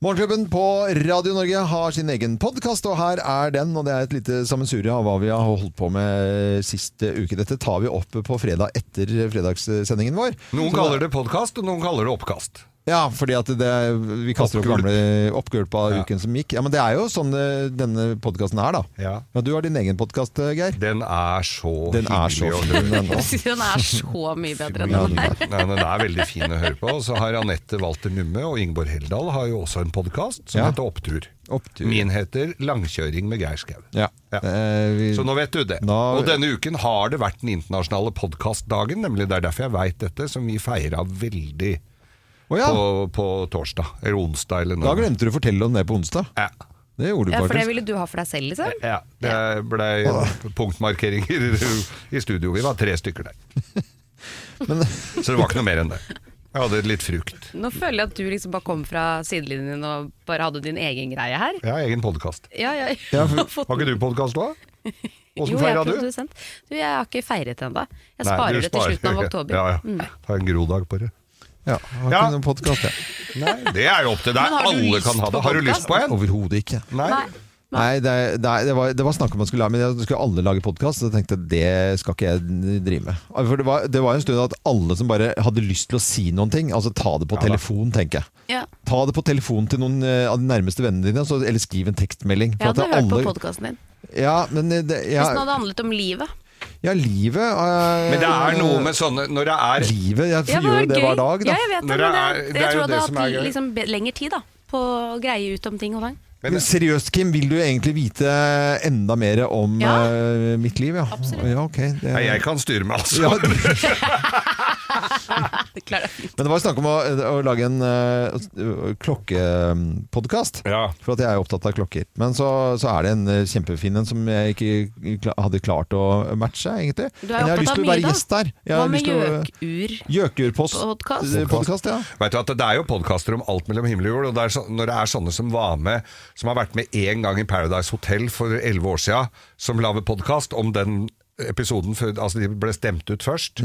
Morgenklubben på Radio Norge har sin egen podkast, og her er den. Og det er et lite sammensurie av hva vi har holdt på med eh, sist uke. Dette tar vi opp på fredag etter fredagssendingen vår. Noen kaller det podkast, og noen kaller det oppkast. Ja, fordi at det, vi kaster opp Oppgulp. gamle oppgulp av Ja. uken som gikk. Ja, Men det er jo sånn eh, denne podkasten er, da. Ja. Ja, Du har din egen podkast, Geir. Den er så Den er så hyggelig å fin, den høre også. på. Den er så mye bedre enn Ja, den den der. er- Nei, den er veldig fin å høre på. Og så har Anette Walter Numme og Ingeborg Heldal har jo også en podkast som Ja. heter Opptur. Opptur. Min heter Langkjøring med Geir Skau. Ja. Ja. Eh, vi- Så nå vet du det. Nå- Og denne uken har det vært den internasjonale podkastdagen, nemlig. Det er derfor jeg veit dette, som vi feira veldig Å ja, på, på torsdag. Eller onsdag, eller da noe. glemte du å fortelle om det på onsdag. Ja. Det gjorde du Ja, for det faktisk. ville du ha for deg selv, liksom? Ja, det blei punktmarkeringer i studio. Vi var tre stykker der. Men- Så det var ikke noe mer enn det. Jeg hadde litt frukt. Nå føler jeg at du liksom bare kom fra sidelinjen din og bare hadde din egen greie her. Jeg har egen podkast. Ja, ja. Ja, for- har fått- Har ikke du podkast òg? Jo, Åssen jeg feira er du? produsent. Du, jeg har ikke feiret ennå. Jeg Nei, sparer du det til sparer. slutten av oktober. Mm. Ja, ja. Ta en grodag på det. Ja, har Ja. ikke noen podcast, jeg. Nei, det er jo opp til deg. Men har du Alle lyst kan ha på det. Har du podcast? lyst på en? Overhodet ikke. Nei. Nei. Nei, det, det, det, var, det var snakk om at man skulle, lage- men jeg skulle alle lage podkast. Så jeg tenkte det skal ikke jeg drive med. For det var, det var en stund at alle som bare hadde lyst til å si noen ting, altså ta det på da. telefon, tenker jeg. Ja. Ta det på telefon til noen eh, av de nærmeste vennene dine, så, eller skriv en tekstmelding. Jeg For hadde at hørt på alle- podkasten din. Ja, men eh, det, Hvis den ja, hadde handlet om livet. ja, livet eh, Men det er noe med sånne Når det er Livet. Jeg Ja, men gjør jo det gøy. hver dag, da. Ja, jeg vet Når det, det men det, er- det er jeg jo tror jeg det hadde som hatt er gøy. liksom, be- lengre tid da, på å greie ut om ting og tang. Men- Men seriøst, Kim, vil du egentlig vite enda mer om Ja. eh, mitt liv? Ja, Ja, ok. Det, Nei, jeg kan styre meg, altså. Ja, det- Klarer det fint. Men det var snakk om å, å lage en uh, klokkepodkast. Ja. For at jeg er opptatt av klokker. Men så, så er det en eh, kjempefin en som jeg ikke kla- hadde klart å matche, egentlig. Du er Men jeg har opptatt lyst til å være av mye, da. gjest der. Jeg Hva har lyst med til å- gjøkur? Podcast? Gjøkur-podkast, ja. Vet du at Det er jo podkaster om alt mellom himmel og jord. og det er så, Når det er sånne som var med Som har vært med én gang i Paradise Hotel for elleve år siden, som lager podkast om den episoden før Altså, de ble stemt ut først.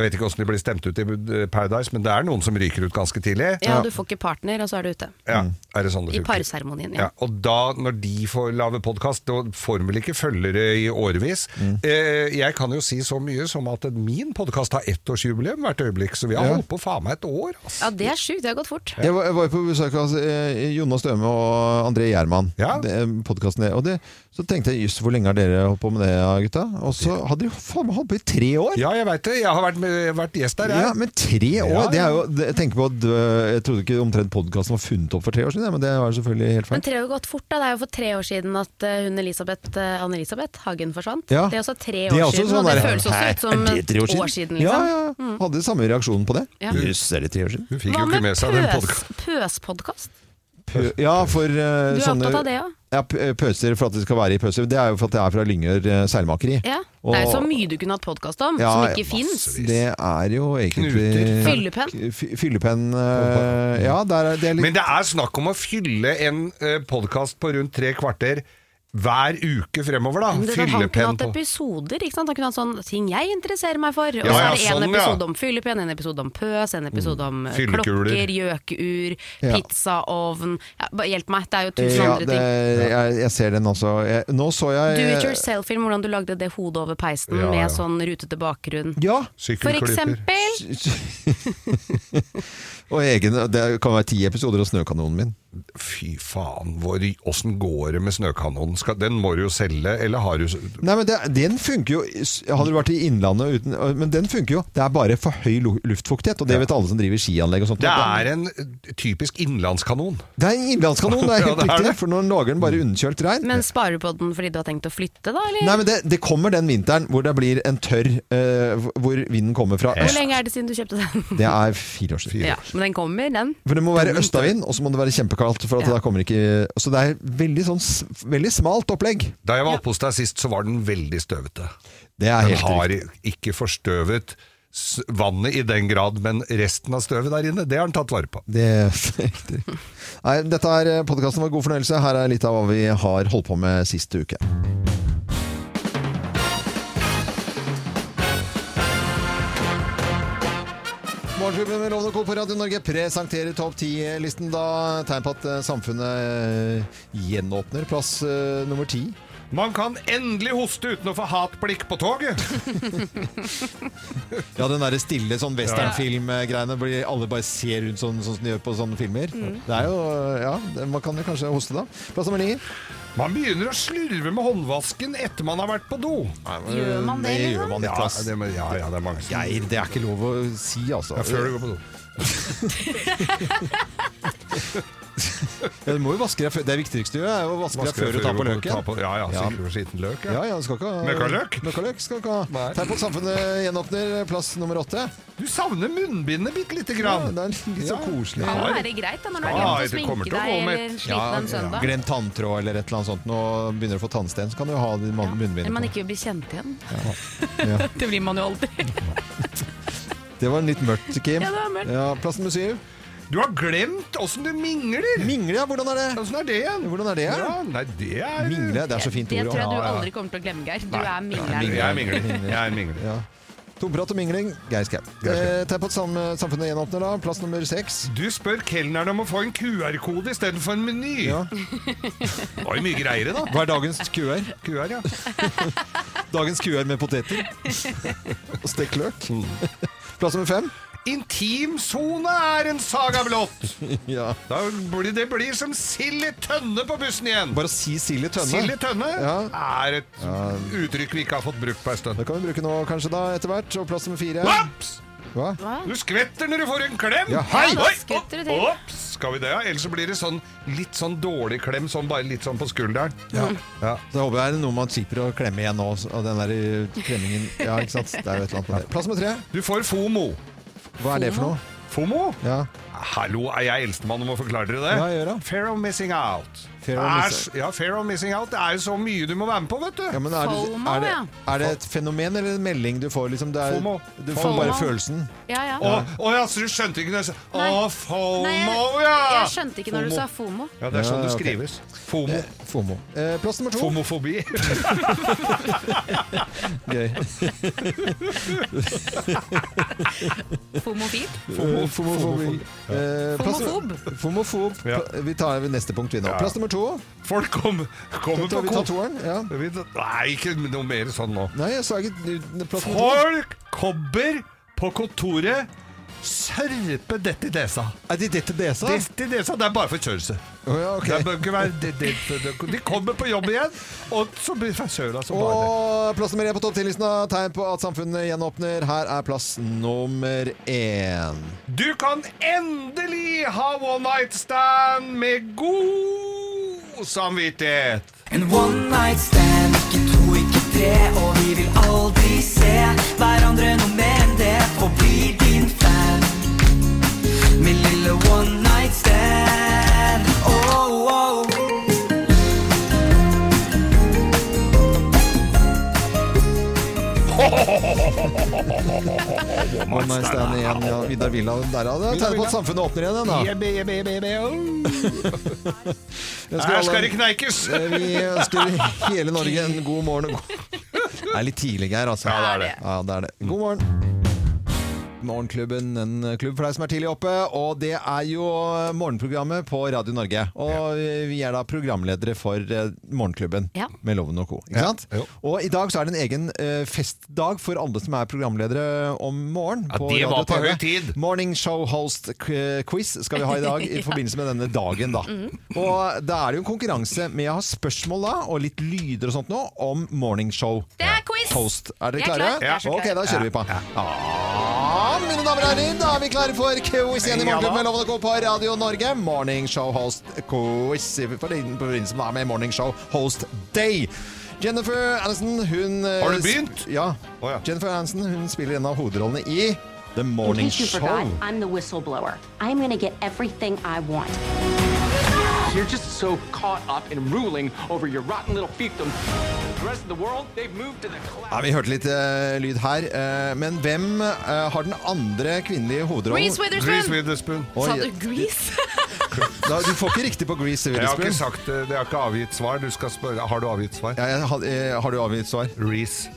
Jeg vet ikke åssen de ble stemt ut i eh, Paradise, men det er noen som ryker ut ganske tidlig. Ja, du får ikke partner, og så er du ute. Ja, er det sånn det I funker? parseremonien, Ja, ja. og da, når de får lage podkast, da får vel ikke følgere i årevis. Eh, jeg kan jo si så mye som at min podkast har ettårsjubileum hvert øyeblikk, så vi har Ja. holdt på faen meg et år. Altså. Ja, det er sjukt. Det har gått fort. Jeg var, jeg var jo på besøk hos eh, Jonas Døme og André Gjerman. Ja. Det- podcasten der. Og det, så tenkte jeg jøss, hvor lenge har dere holdt på med det, ja, gutta? Og så hadde de jo faen meg holdt på i tre år! Ja, jeg veit det. Jeg har vært, med, jeg har vært gjest der, jeg. Ja, men tre år! Ja, ja. Det er jo, det- jeg tenker på at øh, Jeg trodde ikke omtrent podkasten var funnet opp for tre år siden, ja, men det var jo selvfølgelig helt feil. Men tre har jo gått fort. da Det er jo for tre år siden at eh, hun Elisabeth, eh, Anne-Elisabeth Hagen forsvant. Ja. Det er også tre Det år er også siden, sånn og det der, føles også «Hæ, ut som er det tre år siden?» år siden. Ja, Liksom. ja, ja. hadde samme reaksjon på det. Ja. Jøss, er det tre år siden? Hun fikk Hva jo ikke med med seg den podkasten. pøspodkast? Ja, for eh, Du er sånne opptatt av det òg? ja, p- pøser for at det skal være i pøser. Det er jo for at det er fra Lyngør eh, seilmakeri. Ja. Og- Det er jo så mye du kunne hatt podkast om, Ja, som ja, ikke fins. Det er jo egentlig Knuter. Fyllepenn. Fy- Fyllepenn eh, Ja, der er, det er litt Men det er snakk om å fylle en podkast på rundt tre kvarter hver uke fremover, Men da. det er sånn, Han kunne Fyllepenn hatt på episoder. Ikke sant? Han kunne hatt sånn ting jeg interesserer meg for. Og Ja, så ja, er det en sånn, ja. Mm. episode om fyllepenn, en episode om pøs, en episode om eh, Fyllekuler. klokker, gjøkeur, Ja. pizzaovn ja, bare Hjelp meg, det er Eh, jo ja, tusen andre det, ting. jeg, jeg ser den også. Jeg, nå så jeg Do it yourself-film, hvordan du lagde det hodet over peisen Ja, ja. med sånn rutete bakgrunn. Ja, For sykkelklyper. eksempel og egen, det kan være ti episoder av Snøkanonen min. Fy faen, hvor, åssen går det med snøkanonen? Skal, den må du jo selge, eller har du Nei, men det, Den funker jo Hadde du vært i Innlandet uten Men den funker jo. Det er bare for høy lu- luftfuktighet, og det vet alle som driver skianlegg og sånt. Det er en eh, typisk innlandskanon. Det er en innlandskanon, det er helt Ja, det er riktig. det. Mm. For nå lager den bare underkjølt regn. Men sparer du på den fordi du har tenkt å flytte, da? Eller? Nei, men det, det kommer den vinteren hvor det blir en tørr eh, Hvor vinden kommer fra Hvor øst. lenge er det siden du kjøpte den? Det er fire år siden. Ja, men den kommer, den. For det må være østavind, og så må det være kjempekaldt. For at Ja. da kommer ikke Så det er veldig, sånn, s- veldig smalt opplegg. Da jeg var oppe hos deg sist, så var den veldig støvete. Det er Den helt riktig. har ikke forstøvet s- vannet i den grad, men resten av støvet der inne, det har den tatt vare på. Det Nei, dette er podkasten vår God fornøyelse. Her er litt av hva vi har holdt på med siste uke. Morgenklubben Morgenklubben med Lovende Co. på Radio Norge presenterer Topp 10-listen. Da tegn på at eh, samfunnet eh, gjenåpner plass eh, nummer ti. Man kan endelig hoste uten å få hatblikk på toget! Ja, den derre stille sånn westernfilm-greiene. blir- Alle bare ser rundt sånn, sånn som de gjør på sånne filmer. Det er jo Ja, det- man kan jo kanskje hoste da. Plass nummer ni. Man begynner å slurve med håndvasken etter man har vært på do. Gjør man det, Det liksom? gjør man Ja, ikke, ass. det, ja, ja, det er mange som Nei, det er ikke lov å si, altså. ja, Før du går på do. Ja, du må jo vaske deg før. Det viktigste du gjør, er jo å vaske deg Vasker før du tar på går løken. ta på- Ja, ja, Ja. sikre og skiten løk. Ja, ja, du skal ikke ha Møkkaløk? Møkkaløk skal du ikke ha. Nei. Tegn på at samfunnet gjenåpner. Plass nummer åtte. Du savner munnbindet bitte lite Ja, grann. det er litt så Ja. koselig. Ja. Det må være greit da, når du har Ja, glemt å det kommer sminke til å deg gå med- eller sliten en søndag. Glemt tanntråd eller et eller annet sånt, og begynner å få tannsten, så kan du jo ha de Ja. mann- Eller man munnbindet på. ikke vil bli kjent igjen. Ja. det blir man jo aldri. Det var litt mørkt, Kim. Ja, det var mørkt. Ja, plass nummer syv. Du har glemt åssen du mingler! Mingle, ja. Hvordan er det? Åssen er det igjen? Hvordan er det? Ja, nei, det er Mingle, det er så fint Det ord. tror jeg Ja. du ja. aldri kommer til å glemme, Geir. Du Nei. er mingler. mingleren. Jeg mingler. Jeg mingler. Ja. Tomprat og mingling. Geir Skau. Geir Skau. Eh, Tegn på at sam- samfunnet gjenåpner, da. Plass nummer seks. Du spør kelneren om å få en QR-kode istedenfor en meny. Ja. Det var jo mye greiere, da. Hva er dagens QR? QR, ja. Dagens QR med poteter og stekt løk. Plass nummer fem. Intimsone er en saga blått! Ja. Da blir, det blir som sild i tønne på bussen igjen! Bare si Silje Tønne. Sild i tønne Ja. er et uttrykk vi ikke har fått brukt på en stund. Det kan vi bruke nå kanskje da, etter hvert. Og plass nummer fire. Ops! Hva? Hva? Du skvetter når du får en klem! Ja, hei! Ja, da skvetter du til. Oi, Ops! Skal vi det, ja? Ellers så blir det sånn litt sånn dårlig klem, sånn bare litt sånn på skulderen. Ja. Ja. Så jeg håper det er noe man slipper å klemme igjen nå. Og den der eh, klemmingen Ja, ikke sant. Det er jo et eller annet med det. Plass nummer tre. Du får FOMO. Hva er det for noe? FOMO? Ja. Hallo, er jeg eldstemann om å forklare dere det? Ja, gjør det. Fair of missing out. Fear of Er missing- s- Ja, fair of missing out. Det er jo så mye du må være med på, vet du. ja men er det, FOMO, er, det, ja. er det et fenomen eller en melding du får? Liksom, det er, FOMO. Du får FOMO. bare følelsen. Ja, ja. Å, å ja, så du skjønte ikke når jeg sa Å, Nei. Nei, jeg, FOMO, ja! jeg skjønte ikke når du FOMO. sa FOMO. Ja, det er sånn Ja, det ok. skrives. FOMO. FOMO. Eh, plass nummer to. Fomofobi. Gøy. Homofil. Eh, Fomofobi. Eh, plass- Fomofob. Fomofob. Ja. Pla- Vi tar neste punkt, vi nå. Ja. Plass nummer to. Folk kom- Ta, vi kommer på tar kontor. toeren. Ja. Vi tar- Nei, ikke noe mer sånn nå. Nei, jeg sa ikke plass nummer to. Folk kommer på kontoret Sørpe dette i desa. Er det dette det sa? Dette i desa, det er bare forkjølelse. Å, ja, ok. Det bør ikke være det, det, det, det. De kommer på jobb igjen, og så blir forkjøla som bare det. Og plass nummer én på topp 10-listen. da. Tegn på at samfunnet gjenåpner. Her er plass nummer én. Du kan endelig ha one night stand med god samvittighet. En one night stand, ikke to, ikke tre Og vi vil aldri se hverandre noe mer enn det Forblir din fan Min lille one night stand oh, oh. One night stand igjen. Ja, Vidar Villa der, ja. Det er Tegn på at samfunnet åpner igjen, den, da. Jebbe, jebbe, jebbe, jebbe, oh. Jeg ønsker Her alle- skal det kneikes! Eh, Vi ønsker hele Norge en god morgen. og god- Det er litt tidlig her, altså. Ja, det er det. Ja, det er det. God morgen. Morgenklubben, en klubb for deg som er tidlig oppe. Og det er jo morgenprogrammet på Radio Norge. Og vi er da programledere for eh, Morgenklubben Ja. med Loven og co. Ikke sant? jo. Og i dag så er det en egen eh, festdag for alle som er programledere om morgenen. Ja, det var på TV. høy tid. Morning show host k- quiz skal vi ha i dag i forbindelse med denne dagen. da. Mhm. Og da er det jo en konkurranse med å ha spørsmål da, og litt lyder og sånt nå, om morning show Det er quiz! host. Er dere Jeg er klare? klar. Jeg er så klar. Ok, da kjører vi på. Ja, mine damer og herrer, da er vi klare for quiz igjen i Ja da. Morgenklubben med Lovende Co. på Radio Norge. Morning show host quiz i forbindelse med- med morning show host day. Jennifer Aniston, hun eh, Har du begynt? Ja. Å ja. Jennifer Aniston hun spiller en av hovedrollene i The Morning In case you forgot, Show. I'm the whistleblower. I'm going to get everything I want. You're just so caught up in ruling over your rotten little fiefdom. The rest of the world, they've moved to the Ja, cloud. vi hørte litt eh, lyd her, eh, men hvem eh, har den andre kvinnelige hovedrollen? Reese Reese Witherspoon! Witherspoon. Oi, Sa du Grease? da, du får ikke riktig på Grease Jeg har ikke Witherspoon. sagt det, jeg har ikke avgitt svar. Du skal spørre, har du avgitt svar? Ja, jeg har, eh, har du avgitt svar? Reese.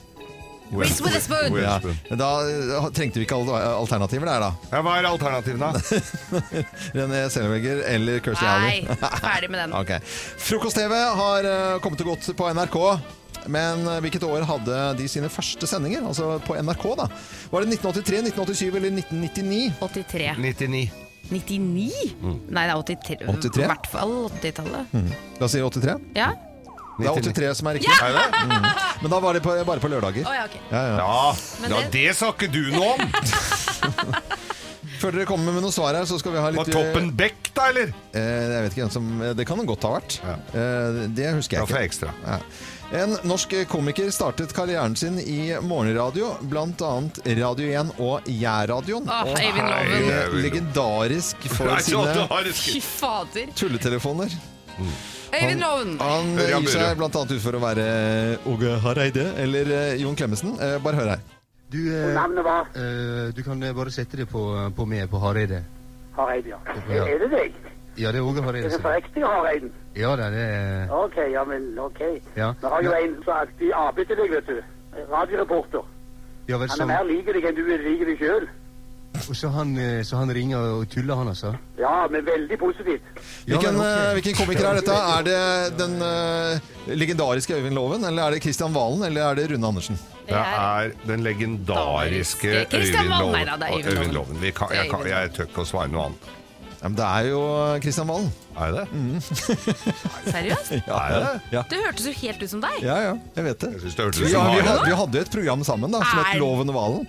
Reese Witherspoon. Ja. Witherspoon. Men Da eh, trengte vi ikke al- alternativer der, da. Ja, hva er alternativene? da? René Selweger eller Kirsty Alley. Nei, ferdig med den. Ok. Frokost-TV har eh, kommet og gått på NRK. Men eh, hvilket år hadde de sine første sendinger? Altså på NRK, da. Var det 1983, 1987 eller 1999? 83. 99. 99? Mm. Nei, det er 83. 83? I hvert fall 80-tallet. La oss si 83. Ja? Det er 83 som er riktig. Er det det? Men da var det på, bare på lørdager. Å ja, ok. Ja, ja. Ja, Men ja, det- det sa ikke du noe om! Før dere kommer med noen svar her, så skal vi ha Var litt Toppen Beck, da, eller? eh, Jeg vet ikke hvem som eh, Det kan den godt ha vært. Ja. Eh, det husker Da jeg får ikke. jeg ekstra. Ja. En norsk komiker startet karrieren sin i morgenradio, bl.a. Radio 1 og Jærradioen. Åh, Og Eivind nei, Loven. det- Eivind Loven. Legendarisk for Nei, så du sine har et Fy skritt. fader. tulletelefoner. Øyvind Loven. Han eh, Ørjan gir Burøe. seg bl.a. ut for å være Åge Hareide eller eh, Jon Klemmesen. Eh, Bare hør her. Du, eh, eh, du kan eh, bare sette det på, på meg på Hareide. Hareide, ja. Ja. Er det deg? Ja, det er Åge Hareide. Er det som- for riktig Hareiden? Ja da, det er Ok, ja, men ok. Ja. Vi har jo Ja. en som alltid arbeider deg, vet du. Radioreporter. Ja vel, Han så Sånn. er mer liker deg enn du liker deg sjøl. og så han, eh, så han ringer og tuller, han altså? Ja, men veldig positivt. Ja, Hvilken, men ok. eh, hvilken komiker er dette? Er det den eh, legendariske Øyvind Loven, eller er det Kristian Valen, eller er det Rune Andersen? Det er den legendariske Christian Øyvind Wall. Nei Loven. da, det er Øyvind Øyvind Loven. Loven. Vi kan, Det er jeg, kan, Øyvind jeg tør ikke å svare noe annet. Ja, men det er jo Kristian Valen. Er det det? Mm. Seriøst? Er det det? Ja. Det hørtes jo helt ut som deg. Ja, ja, jeg vet Jeg det. synes det hørtes Vi, ut som vi, Hagen. hadde, vi hadde jo et program sammen da, som het Er- Loven og Valen.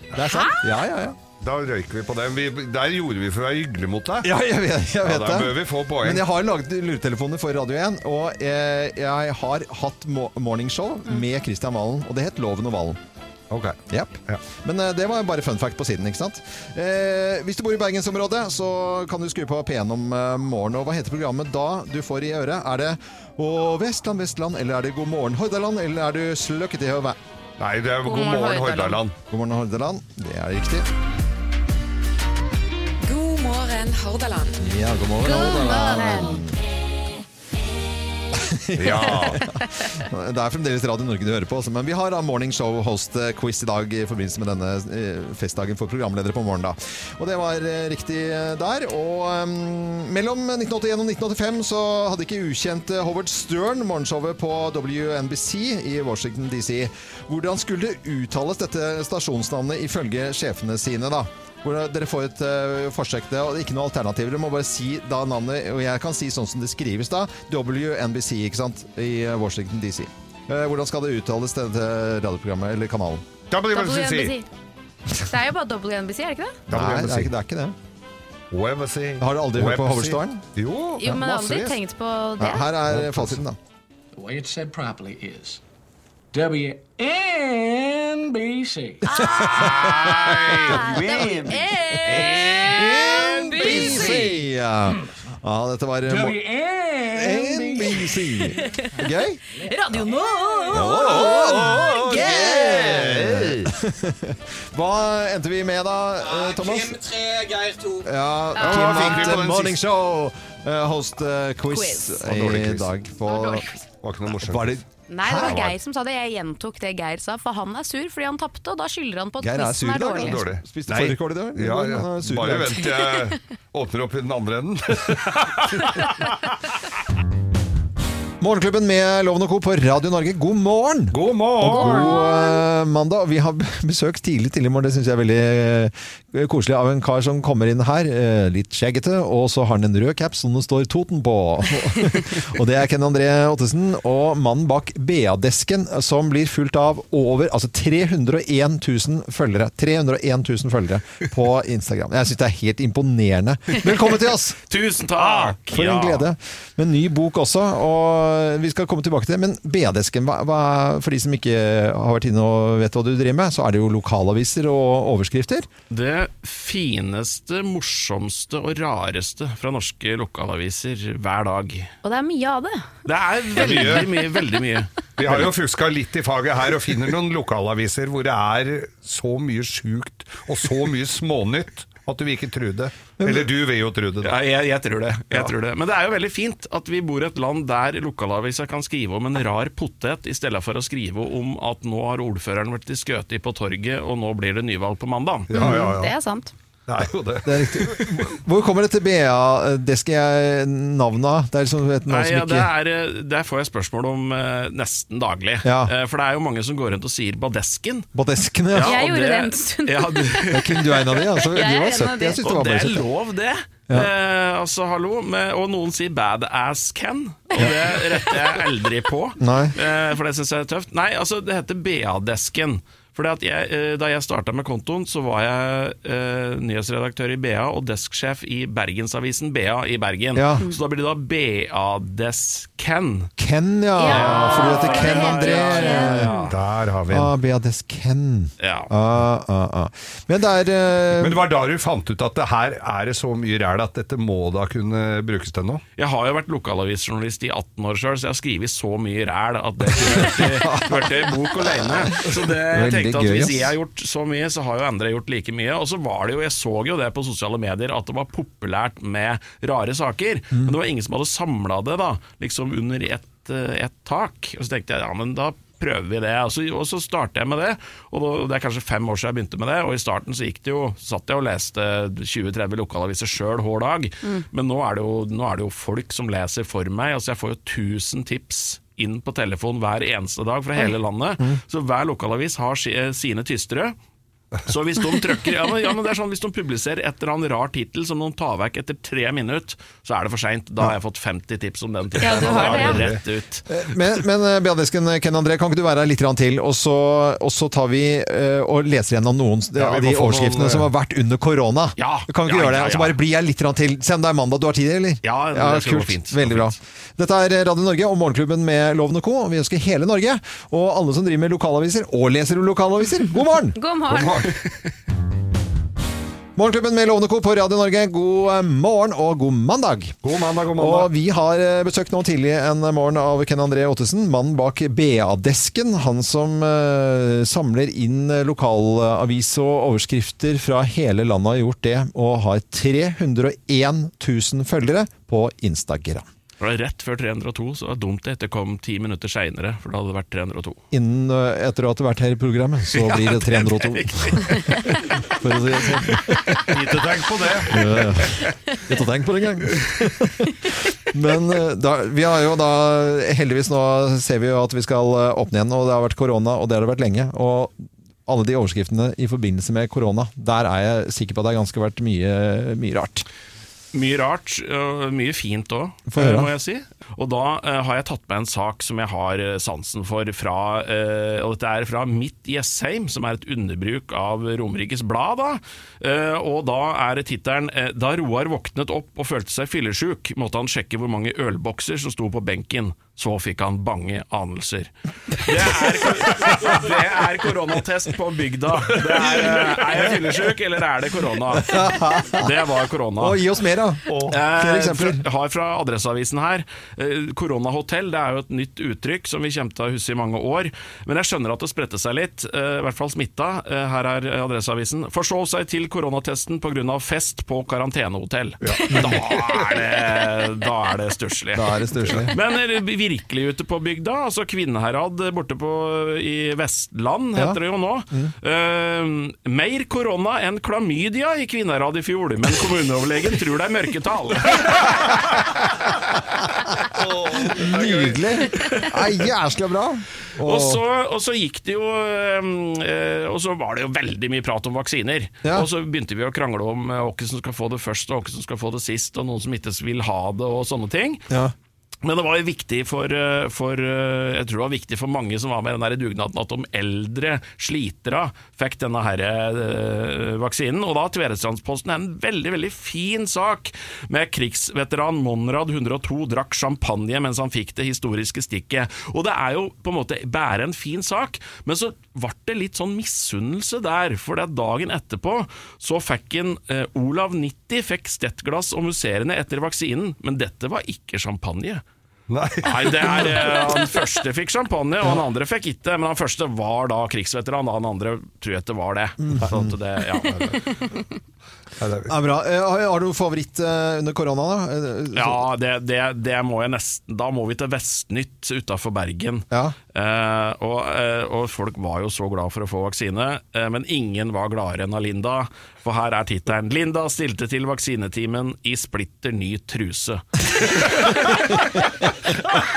Det er sant? Ja, ja, ja. Da røyker vi på den. Vi, der gjorde vi for å være hyggelige mot deg. Ja, jeg vet, jeg vet da det. bør vi få poeng. Men jeg har laget luretelefoner for Radio 1, og eh, jeg har hatt mo- morningshow med Kristian Valen, og det het Loven og Valen. Ok. Japp. Ja. Men eh, det var bare fun fact på siden, ikke sant? Eh, hvis du bor i bergensområdet, så kan du skru på P1 om eh, morgenen. Og hva heter programmet da du får i øret? Er det Å, Vestland, Vestland, eller er det God morgen Hordaland, eller er du sløkket i høvet? Nei, det er God morgen, morgen, Hordaland. Hordaland. God morgen Hordaland, det er riktig. God morgen, Hordaland. Ja, god morgen Hordaland. Ja. Det er fremdeles Radio Norge du hører på, altså, men vi har da morning show host eh, quiz i dag i forbindelse med denne eh, festdagen for programledere på morgenen. da. Og det var eh, riktig eh, der. Og eh, mellom 1981 og 1985 så hadde ikke ukjente Howard Stern morgenshowet på WNBC i Washington DC. Hvordan skulle det uttales dette stasjonsnavnet ifølge sjefene sine, da? Hvordan- Dere får et eh, forsøk til, og ikke noe alternativer. Dere må bare si da navnet, og jeg kan si sånn som det skrives da. WNBC, ikke sant? I eh, Washington DC. Eh, hvordan skal det uttales, dette radioprogrammet eller kanalen? Da må de bare si WNBC. Det er jo bare WNBC, er det ikke det? Nei, det Da må de er, bare si ikke, det er ikke det. WebC. Har du aldri hørt på WebC? Hoverstaren? Jo, Jo, men jeg har aldri massevis. tenkt på det. Ja, her er fasiten, da. The way it's said properly is WNBC. NBC! Ja, ja dette var eh, mor- WNBC. NBC. Gøy? Radio Nå! Gøy! Hva endte vi med da, eh, Thomas? tre, Geir to. Ja, Kim Kim vant vant den Morning sist. Show eh, host eh, quiz, Quiz. Og dårlig i quiz. dag. På, Var ikke noe morsomt. var det Nei, det Hæ? var Geir som sa det. Jeg gjentok det Geir sa, for han er sur fordi han tapte, og da skylder han på at Geir er sur quizen i er dag, dårlig. da. Dårlig. Spiste Nei. fårikål i dag? Ja, ja. Han er sur i Bare dag. vent til jeg åpner opp i den andre enden. Morgenklubben med Loven og Co. på Radio Norge, god morgen! God morgen! God eh, mandag. Vi har besøk tidlig tidlig i morgen. Det syns jeg er veldig eh, koselig av en kar som kommer inn her, eh, litt skjeggete, og så har han en rød caps som det står Toten på. og det er Ken André Ottesen og mannen bak BA-desken, som blir fulgt av over altså 301 000 følgere. 301 000 følgere på Instagram. Jeg syns det er helt imponerende. Velkommen til oss! Tusen takk! Ah, For en glede. Med ny bok også, og vi skal komme tilbake til det. Men BA-desken, hva, hva, for de som ikke har vært inne og vet hva du driver med, så er det jo lokalaviser og overskrifter. Det fineste, morsomste og rareste fra norske lokalaviser hver dag. Og det er mye av det. Det er veldig mye, veldig mye. Vi har jo fuska litt i faget her og finner noen lokalaviser hvor det er så mye sjukt og så mye smånytt At du vil ikke tro det. Eller du vil jo tro det, da. Ja, jeg, jeg, tror det. jeg tror det. Men det er jo veldig fint at vi bor i et land der lokalavisa kan skrive om en rar potet, i stedet for å skrive om at nå har ordføreren vært i skøti på torget, og nå blir det nyvalg på mandag. Ja, ja, Det ja. er sant. Det er jo det. Det er riktig. Hvor kommer dette BA-navnet av? Det er liksom et navn Nei, som ja, det ikke er, eh, Der får jeg spørsmål om eh, nesten daglig. Ja. Eh, for det er jo mange som går rundt og sier 'badesken'. Badeskene, ja. Jeg og gjorde det en stund. Ja, du, Kunne du er en av de? Altså, du Jeg er var en av 70. de. Jeg syns det og var det bare er 70. lov, det! Eh, altså, hallo. Men, og noen sier 'badass Ken', og det retter jeg aldri på. Nei. Eh, for det syns jeg er tøft. Nei, altså, det heter BA-desken. Fordi at jeg, eh, Da jeg starta med kontoen, så var jeg eh, nyhetsredaktør i BA og desksjef i Bergensavisen BA i Bergen. Ja. Så da blir det da BA-desken. Ken, ja. For du heter Ken Ja, André. ja, Der har vi en. Ah, Bea Desken. Ja. Ah, ah, ah. Men det er eh, Men det var da du fant ut at det her er det så mye ræl at dette må da kunne brukes til noe? Jeg har jo vært lokalavisjournalist i 18 år sjøl, så jeg har skrevet så mye ræl at det kunne vært i bok alene. Så det, jeg Veldig tenkte at gøy, ass. hvis jeg har gjort så mye, så har jo andre gjort like mye. Og så var det jo, jeg så jo det på sosiale medier, at det var populært med rare saker. Men det var ingen som hadde samla det, da, liksom under ett eh, ett tak. Og så tenkte jeg ja, men da prøver vi det. Og så, og så startet jeg med det, og da, det er kanskje fem år siden jeg begynte med det. Og i starten så gikk det jo, satt jeg og leste 20-30 lokalaviser sjøl hver dag. Men nå er, det jo, nå er det jo folk som leser for meg. Altså jeg får jo 1000 tips inn på telefon hver eneste dag fra hele landet. Så hver lokalavis har si, eh, sine tystere. Så hvis de trykker ja, men, ja, men det er sånn, hvis de publiserer et eller annet rar tittel som de tar vekk etter tre minutter, så er det for seint. Da har jeg fått 50 tips om den Ja, tittelen. du og da har er det, det rett ut. Men, men eh, Bea Desken, Ken André, kan ikke du være her litt grann til, og så, og så tar vi eh, og leser gjennom noen s- Ja, vi av de må få noen, overskriftene eh, som har vært under korona? Ja, kan vi ikke ja, gjøre det? ja, Og ja. så bare blir jeg litt grann til. Se om det er mandag. Du har tid, eller? Ja, det skal gå fint, det skal Veldig gå bra. Dette er eh, Radio Norge og Morgenklubben med Loven og Co. Vi ønsker hele Norge, og alle som driver med lokalaviser, og leser om lokalaviser, god morgen! God morgen. Morgenklubben med Lovende Co. på Radio Norge, god eh, morgen og god mandag. God mandag, god mandag. Og vi har eh, besøkt nå tidlig en morgen av Ken André Ottesen, mannen bak BA-desken. Han som eh, samler inn eh, lokalavis og overskrifter fra hele landet har gjort det, og har 301 000 følgere på Instagram. Det var rett før 302, så det var dumt det ikke kom ti minutter seinere, for da hadde det vært 302. Innen eh, etter å ha vært her i programmet, så blir det 302. For å si det sånn. Ikke tenk på det! Ikke tenk på det engang. Men eh, da, vi har jo da Heldigvis nå ser vi jo at vi skal eh, åpne igjen, og det har vært korona, og det har det vært lenge. Og alle de overskriftene i forbindelse med korona, der er jeg sikker på at det har ganske vært mye, mye rart. Mye rart, og mye fint òg, Få høre. må jeg si. Og da eh, har jeg tatt med en sak som jeg har eh, sansen for, fra, eh, og dette er fra Midt Jessheim, som er et underbruk av Romerikes Blad. da. Eh, og da er tittelen eh, 'Da Roar våknet opp og følte seg fyllesyk, måtte han sjekke hvor mange ølbokser som sto på benken'. Så fikk han bange anelser. Det er, det er koronatest på bygda. Det er, eh, er jeg fyllesyk, eller er det korona? Det var korona. Og gi oss mer, da! Flere Eh, eksempler. fra- Jeg har fra Adresseavisen her. Eh, Koronahotell det er jo et nytt uttrykk som vi kommer til å huske i mange år. Men jeg skjønner at det spredte seg litt, eh, i hvert fall smitta. Eh, Her er eh, Adresseavisen. Forsov seg til koronatesten pga. fest på karantenehotell. Da er det, da er det stusslig. Da er det stusslig. Men er det virkelig ute på bygda, altså Kvinnherad borte på, i Ja. Vestland, Mm. heter det jo nå. Eh, mer korona enn klamydia i Kvinnherad i fjor, men kommuneoverlegen tror det er mørketall. Nydelig! Nei, jæskla bra! Og så, og så gikk det jo eh, Og så var det jo veldig mye prat om vaksiner. Ja. Og så begynte vi å krangle om eh, hvem som skal få det først, og hvem som skal få det sist, og noen som ikke vil ha det, og sånne ting. Ja. Men det var jo viktig for, eh, for eh, Jeg tror det var viktig for mange som var med i den der dugnaden, at de eldre slitere fikk denne her, eh, vaksinen. Og da Tvedestrandsposten er en veldig veldig fin sak med krigsveteran Monrad 102 drakk champagne mens han fikk det historiske stikket. Og det er jo på en måte bare en fin sak, men så ble det litt sånn misunnelse der. For det at dagen etterpå så fikk en eh, Olav 90 fikk stettglass og musserende etter vaksinen, men dette var ikke champagne. Nei. det er eh, Han første fikk champagne, og han andre fikk ikke. Men han første var da krigsveteran, og han andre tror jeg ikke var det. Så at det Mm. ja. Ja, bra. Eh, har- har du favoritt eh, under korona, da? Eh, så- ja, det, det, det må jeg nesten Da må vi til Vestnytt utafor Bergen. Ja. Eh, og, eh, og folk var jo så glad for å få vaksine, eh, men ingen var gladere enn av Linda. For her er tittelen 'Linda stilte til vaksinetimen i splitter ny truse'.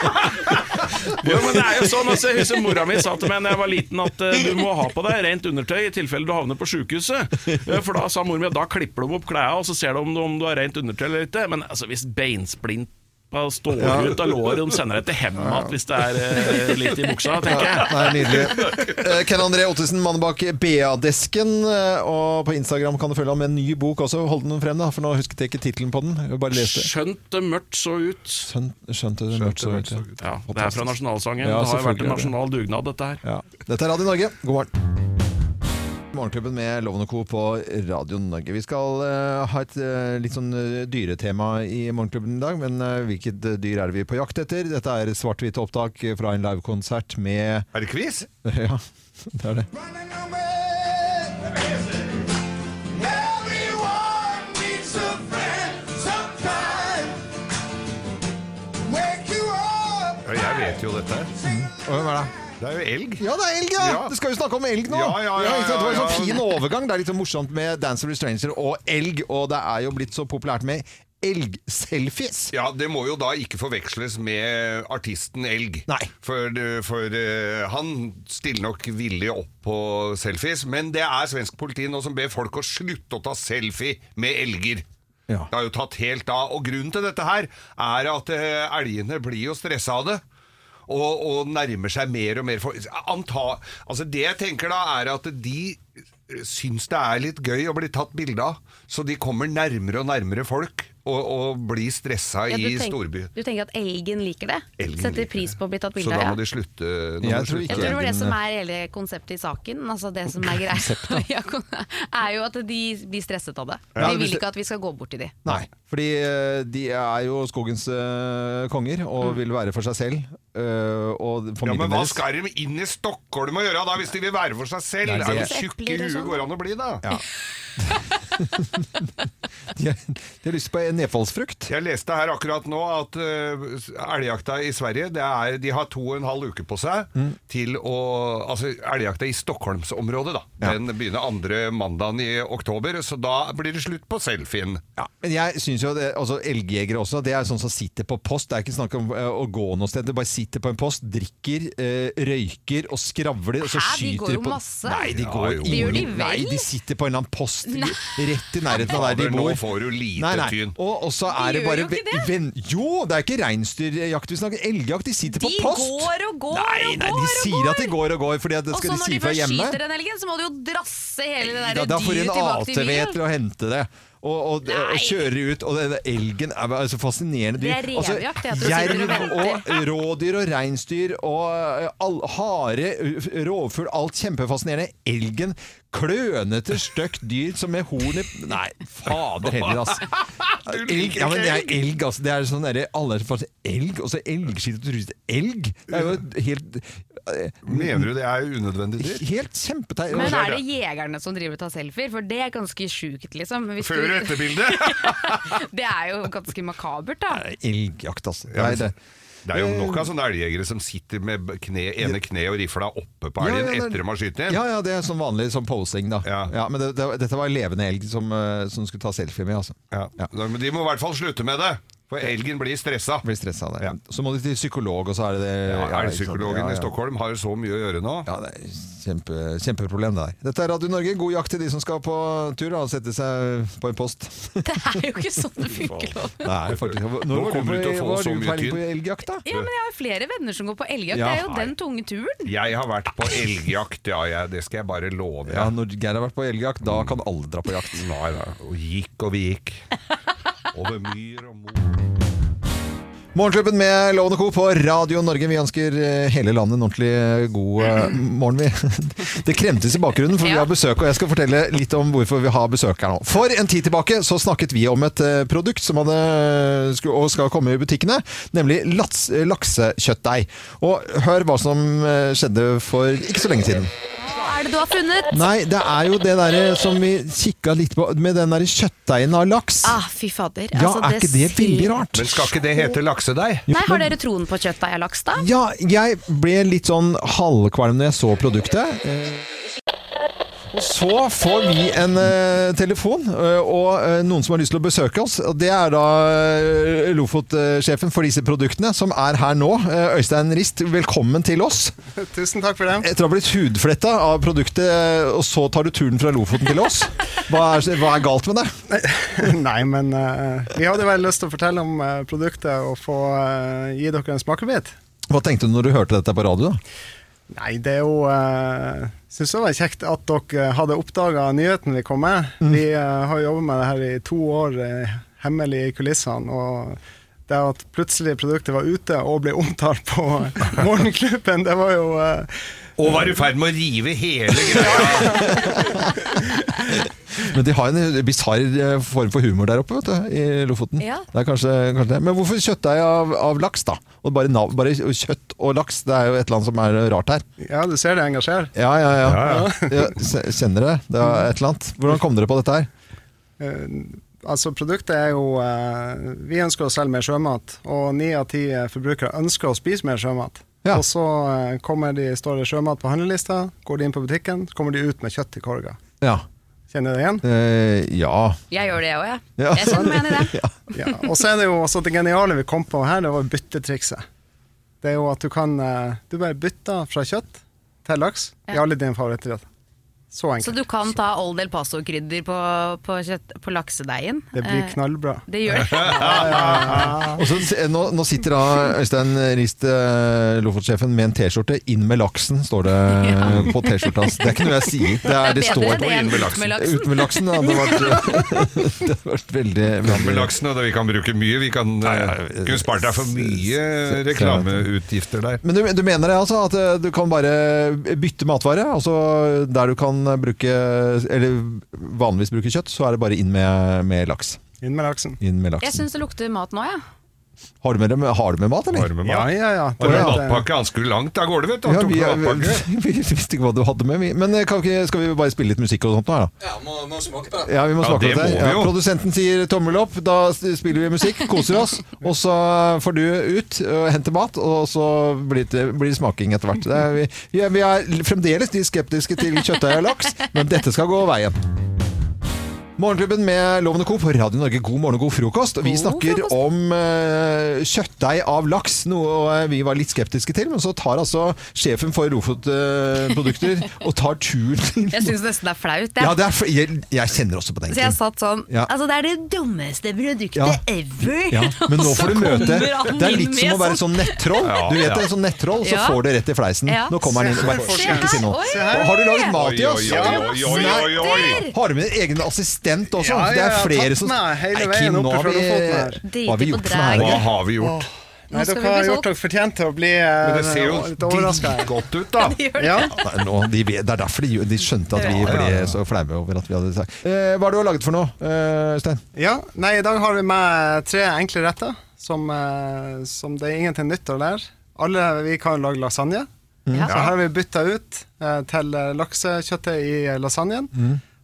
jo, men det er jo sånn altså, Jeg husker mora mi sa til meg da jeg var liten at eh, du må ha på deg rent undertøy i tilfelle du havner på sjukehuset. Eh, For da sa mor mi at da klipper de opp klærne og så ser de om du, om du har rent undertøy eller ikke. Men altså, hvis beinsplinta står ut av låret, de sender deg til hjemmet igjen hvis det er eh, litt i buksa, tenker jeg. Nei, nydelig. Eh, Ken André Ottesen, mannen bak BA-desken. eh, Og på Instagram kan du følge ham med en ny bok også. Hold den frem, da, for nå husket jeg ikke tittelen på den. Jeg bare leste. Skjønt det mørkt så ut. Skjønt, skjønte du mørkt så ut. ja. Ja, Det er fra nasjonalsangen. Ja, det har jo vært en selvfølgelig er nasjonal dugnad, dette her. Ja. Dette er Radio Norge. God morgen. Morgenklubben med Loven og Co. på Radio Norge. Vi skal eh, ha et eh, litt sånn eh, dyretema i Morgenklubben i dag, men eh, hvilket eh, dyr er vi på jakt etter? Dette er svart-hvite opptak fra en livekonsert med Er det quiz? Ja, det er det. Ja, jeg vet jo dette. Og hvem er det? Det er jo elg. Ja, det er elg, ja! Ja. Du skal jo snakke om elg nå. Ja, ja, ja, ikke sant? Det var en ja, sånn ja. fin overgang. Det er litt så morsomt med Dancer with Stranger og elg, og det er jo blitt så populært med elg-selfies. Ja, Det må jo da ikke forveksles med artisten Elg. Nei. For, for eh, han stiller nok villig opp på selfies, men det er svensk politi nå som ber folk å slutte å ta selfie med elger. Ja. Det har jo tatt helt av. Og grunnen til dette her er at eh, elgene blir jo stressa av det. Og, og nærmer seg mer og mer for, anta, altså Det jeg tenker da, er at de eh, syns det er litt gøy å bli tatt bilde av. Så de kommer nærmere og nærmere folk og, og blir stressa Ja, du i tenk- storby. Du tenker at elgen liker det? Elgen Setter liker pris på å bli tatt Så bilde da må av? de Ja. slutte. nå Jeg må de tror slutte. ikke Jeg tror det var det elgen- som er hele konseptet i saken. Altså det som er greia Ja, kon- er jo at de blir stresset av det. Ja, De det vil blir- ikke at vi skal gå bort til de. Nei, fordi eh, de er jo skogens eh, konger og vil være for seg selv eh, og Mm. Ja, familien Men hva deres. skal de inn i Stockholm og gjøre da, hvis de vil være for seg selv? Nei, Det er jo det- tjukke i Epler og huet sånn. går an å bli, da. De, de har lyst på en nedfallsfrukt. Jeg leste her akkurat nå at eh, elgjakta i Sverige det er, De har to og en halv uke på seg Mm. til å Altså elgjakta i Stockholmsområdet, da. Den begynner andre mandagen i oktober, så da blir det slutt på selfien. Ja, men jeg synes jo det, altså Elgjegere også, det er sånn som sitter på post. Det er ikke snakk om eh, å gå noe sted. Det bare sitter på en post, drikker, eh, røyker og skravler. Og så Hæ, de skyter går jo på- masse. Nei, de Ja, går jo. ingen- Det gjør de vel? Nei, de sitter på en eller annen post rett i nærheten av der de Fader, bor. Nå får du lite Nei, nei. tyn. Og og så er De det gjør bare jo ikke det. ven- Jo, det er ikke reinsdyrjakt vi snakker elgjakt. De sitter De på post. går og går Nei, og nei, de går og sier at de går. går og går fordi at det Og skal så de når si de fra først hjemme. skyter den elgen, så må du jo drasse hele det Ja, der da får de dyret en tilbake til ATV bilen. til å hente det. Og, og, og Nei. kjøre ut. Og den elgen er bare så fascinerende dyr. Det er revejakt, det, at du sitter og jerv og rådyr og reinsdyr og eh, all, hare, u- rovfugl, alt kjempefascinerende. Elgen, klønete, stygt dyr som med hornet Nei, fader heller, altså. Elg, ja, men det er elg, altså. Det er sånn derre Alle er så fascinert. Elg, og så elgskitt og trusete. Elg! Det er jo et helt eh, Mener du det er unødvendig dyrt? Helt kjempeteit. Men er det jegerne som driver og tar selfier? For det er ganske sjukt, liksom. Hvis Før- og du, etterbilde? det er jo ganske makabert, da. Elgjakt, altså. Ja, Nei, men- det. Det er jo nok av sånne elgjegere som sitter med kne, ene kne og rifla oppe på elgen det- etter de har skutt den. Ja, ja, det er sånn vanlig sånn posing, da. Ja. Ja. men det, det, dette var en levende elg som, eh, som skulle ta selfie med, altså. Ja. Men De må i hvert fall slutte med det, for elgen blir stressa. Blir stressa av det. Ja. Så må de til psykolog, og så er det det Ja, Eh, ja, ikke sant? Elgpsykologen Ja, ja. i Stockholm har jo så mye å gjøre nå. Ja, det er kjempe, kjempeproblem det der. Dette er Radio Norge, god jakt til de som skal på tur da, og sette seg på en post. Det er jo ikke sånn det funker. Loven. Det er faktisk Når Nå var kommer du til å på- få var så mye peiling tyn. på elgjakt, da? Ja, men jeg har flere venner som går på Ja. elgjakt. det er jo den tunge turen. Jeg har vært på elgjakt, ja, jeg, det skal jeg bare love. Ja, Ja. når Geir har vært på elgjakt, Mm. da kan alle dra på jakt. Nei, nei, og gikk og vi gikk. Over myr og mor. Morgenklubben med Lovende Co. på Radio Norge. Vi ønsker eh, hele landet en ordentlig eh, god eh, morgen. Vi. Det kremtes i bakgrunnen, for vi har besøk, og jeg skal fortelle litt om hvorfor vi har besøk her nå. For en tid tilbake så snakket vi om et eh, produkt som hadde, eh, sku- og skal komme i butikkene, nemlig lats, eh, laksekjøttdeig. Og hør hva som eh, skjedde for ikke så lenge siden. Hva er det du har funnet? Nei, det er jo det derre som vi kikka litt på, med den derre kjøttdeigen av laks. Ah, fy fader. Ja, er ikke det veldig rart? Men skal ikke det hete laksedeig? Nei, Har dere troen på kjøttdeig av laks, da? Ja, jeg ble litt sånn halvkvalm når jeg så produktet. Eh, Og så får vi en eh, telefon, eh, og eh, noen som har lyst til å besøke oss. Og det er da eh, Lofot-sjefen for disse produktene, som er her nå. Eh, Øystein Rist, velkommen til oss. Tusen takk for det. Etter å ha blitt hudfletta av produktet, eh, og så tar du turen fra Lofoten til oss. Hva er, hva er galt med det? Nei, men eh, vi hadde veldig lyst til å fortelle om eh, produktet og få eh, gi dere en smakebit. Hva tenkte du når du hørte dette på radio? da? Nei, det er jo uh, Syns det var kjekt at dere hadde oppdaga nyheten vi kom med. Vi eh, har jobba med det her i to år, eh, hemmelig i kulissene. og det at plutselig produktet var ute og ble omtalt på Morgenklubben, det var jo eh, Og var i ferd med å rive hele greia. Men de har en bisarr eh, form for humor der oppe, vet du, i Lofoten. Ja. Det er kanskje, kanskje det. Men hvorfor kjøttdeig av, av laks, da? Og bare, nav, bare kjøtt og laks, det er jo et eller annet som er rart her. Ja, du ser det engasjerer. Ja, ja, ja. Ja, ja, se- kjenner dere? Det er et eller annet. Hvordan kom dere på dette her? Eh, altså Produktet er jo eh, Vi ønsker å selge mer sjømat, og ni av ti eh, forbrukere ønsker å spise mer sjømat. Og så eh, kommer de, står det sjømat på handlelista, går de inn på butikken, så kommer de ut med kjøtt i korga. Ja. Kjenner du det igjen? Eh, ja. Jeg gjør det, jeg òg, jeg. Ja. Jeg sånn kjenner meg igjen i det. Ja, og så er det jo også det geniale vi kom på her, det var byttetrikset. Det er jo at du kan eh, Du bare bytter fra kjøtt til laks i alle dine favorittretter. Så Så enkelt. du kan ta Old El Paso-krydder på, på, kjøtt, på laksedeigen. Eh, Det blir Eh. knallbra. Det gjør det. Og så, se- nå, nå sitter da Øystein Rist, eh, Lofot-sjefen, med en T-skjorte. 'Inn med laksen', står det eh, på T-skjorta hans. Det er ikke noe jeg sier. Det, er, det, Det er bedre står det enn Inn med ut laksen. med laksen. Ut med laksen, ja. Det hadde vært, det hadde vært veldig, veldig Med laksen, og det vi kan bruke mye. Vi kan eh, kunne spart deg for mye reklameutgifter der. Men du, du mener det altså at eh, du kan bare bytte matvare? Altså der du kan bruke Eller vanligvis bruke kjøtt, så er det bare inn med, med laks. Inn med laksen. Inn med Jeg laksen. syns det lukter mat nå, jeg. Har, du med, dem- har du med mat, eller? Har du med mat? Det Har du er- matpakke? Han skulle langt av gårde, vet du. Han Ja, tok vi, med matpakke. vi, vi visste ikke hva du hadde med. Vi. Men eh, kan vi ikke, skal vi bare spille litt musikk og sånt nå? her, Da? Ja, må, må smake på det. Ja, vi må Ja, smake det på må dette. vi Ja, jo. produsenten sier tommel opp, da s- spiller vi musikk, koser oss. Og så får du ut og hente mat, og så blir det, blir det smaking etter hvert. Det er, vi, ja, vi er fremdeles de skeptiske til kjøttdeig og laks, men dette skal gå veien. Morgenklubben med Lovende Co. på Radio Norge, god morgen og god frokost. Vi snakker om eh, kjøttdeig av laks, noe eh, vi var litt skeptiske til. Men så tar altså sjefen for Lofot-produkter og tar turen til Jeg syns nesten det er flaut, jeg. Ja, det er, for- jeg, jeg kjenner også på den. Så jeg satt sånn Ja. Altså, det er det dummeste produktet Ja. ever! Ja, men nå får du møte Det er litt som å være sånn nettroll. Ja, Du vet ja. det, sånn nettroll, så Ja. får du rett i fleisen. Ja. Nå kommer han inn. og Bare, Se skal her, ikke si noe. oi. Og Har du laget mat til oss? Oi, oi, oi, oi, oi, oi. Nei. Har du med egen assistent også? Ja, ja, det er ja, flere tatt som med hele Nei, veien Kim, oppe nå har fra vi, Lofoten her. hva har vi Driter på gjort for noe her? Hva har vi gjort? Nei, skal vi dere bli sånn. har solgt. gjort dere fortjent til å bli eh, Men det ser jo litt overrasket her. dritgodt ut, da. Ja, det gjør det. Ja. Nei, nå, de, vet- det er derfor de, de skjønte at vi Ja, ja, ble så flaue over at vi hadde sagt eh, Hva er det du har laget for noe, eh, Stein? Ja, nei, I dag har vi med tre enkle retter som, eh, som det er ingenting nytt å lære. Alle vi kan lage lasagne. Mm. Ja. Så her har vi bytta ut eh, til eh, laksekjøttet i eh, lasagnen.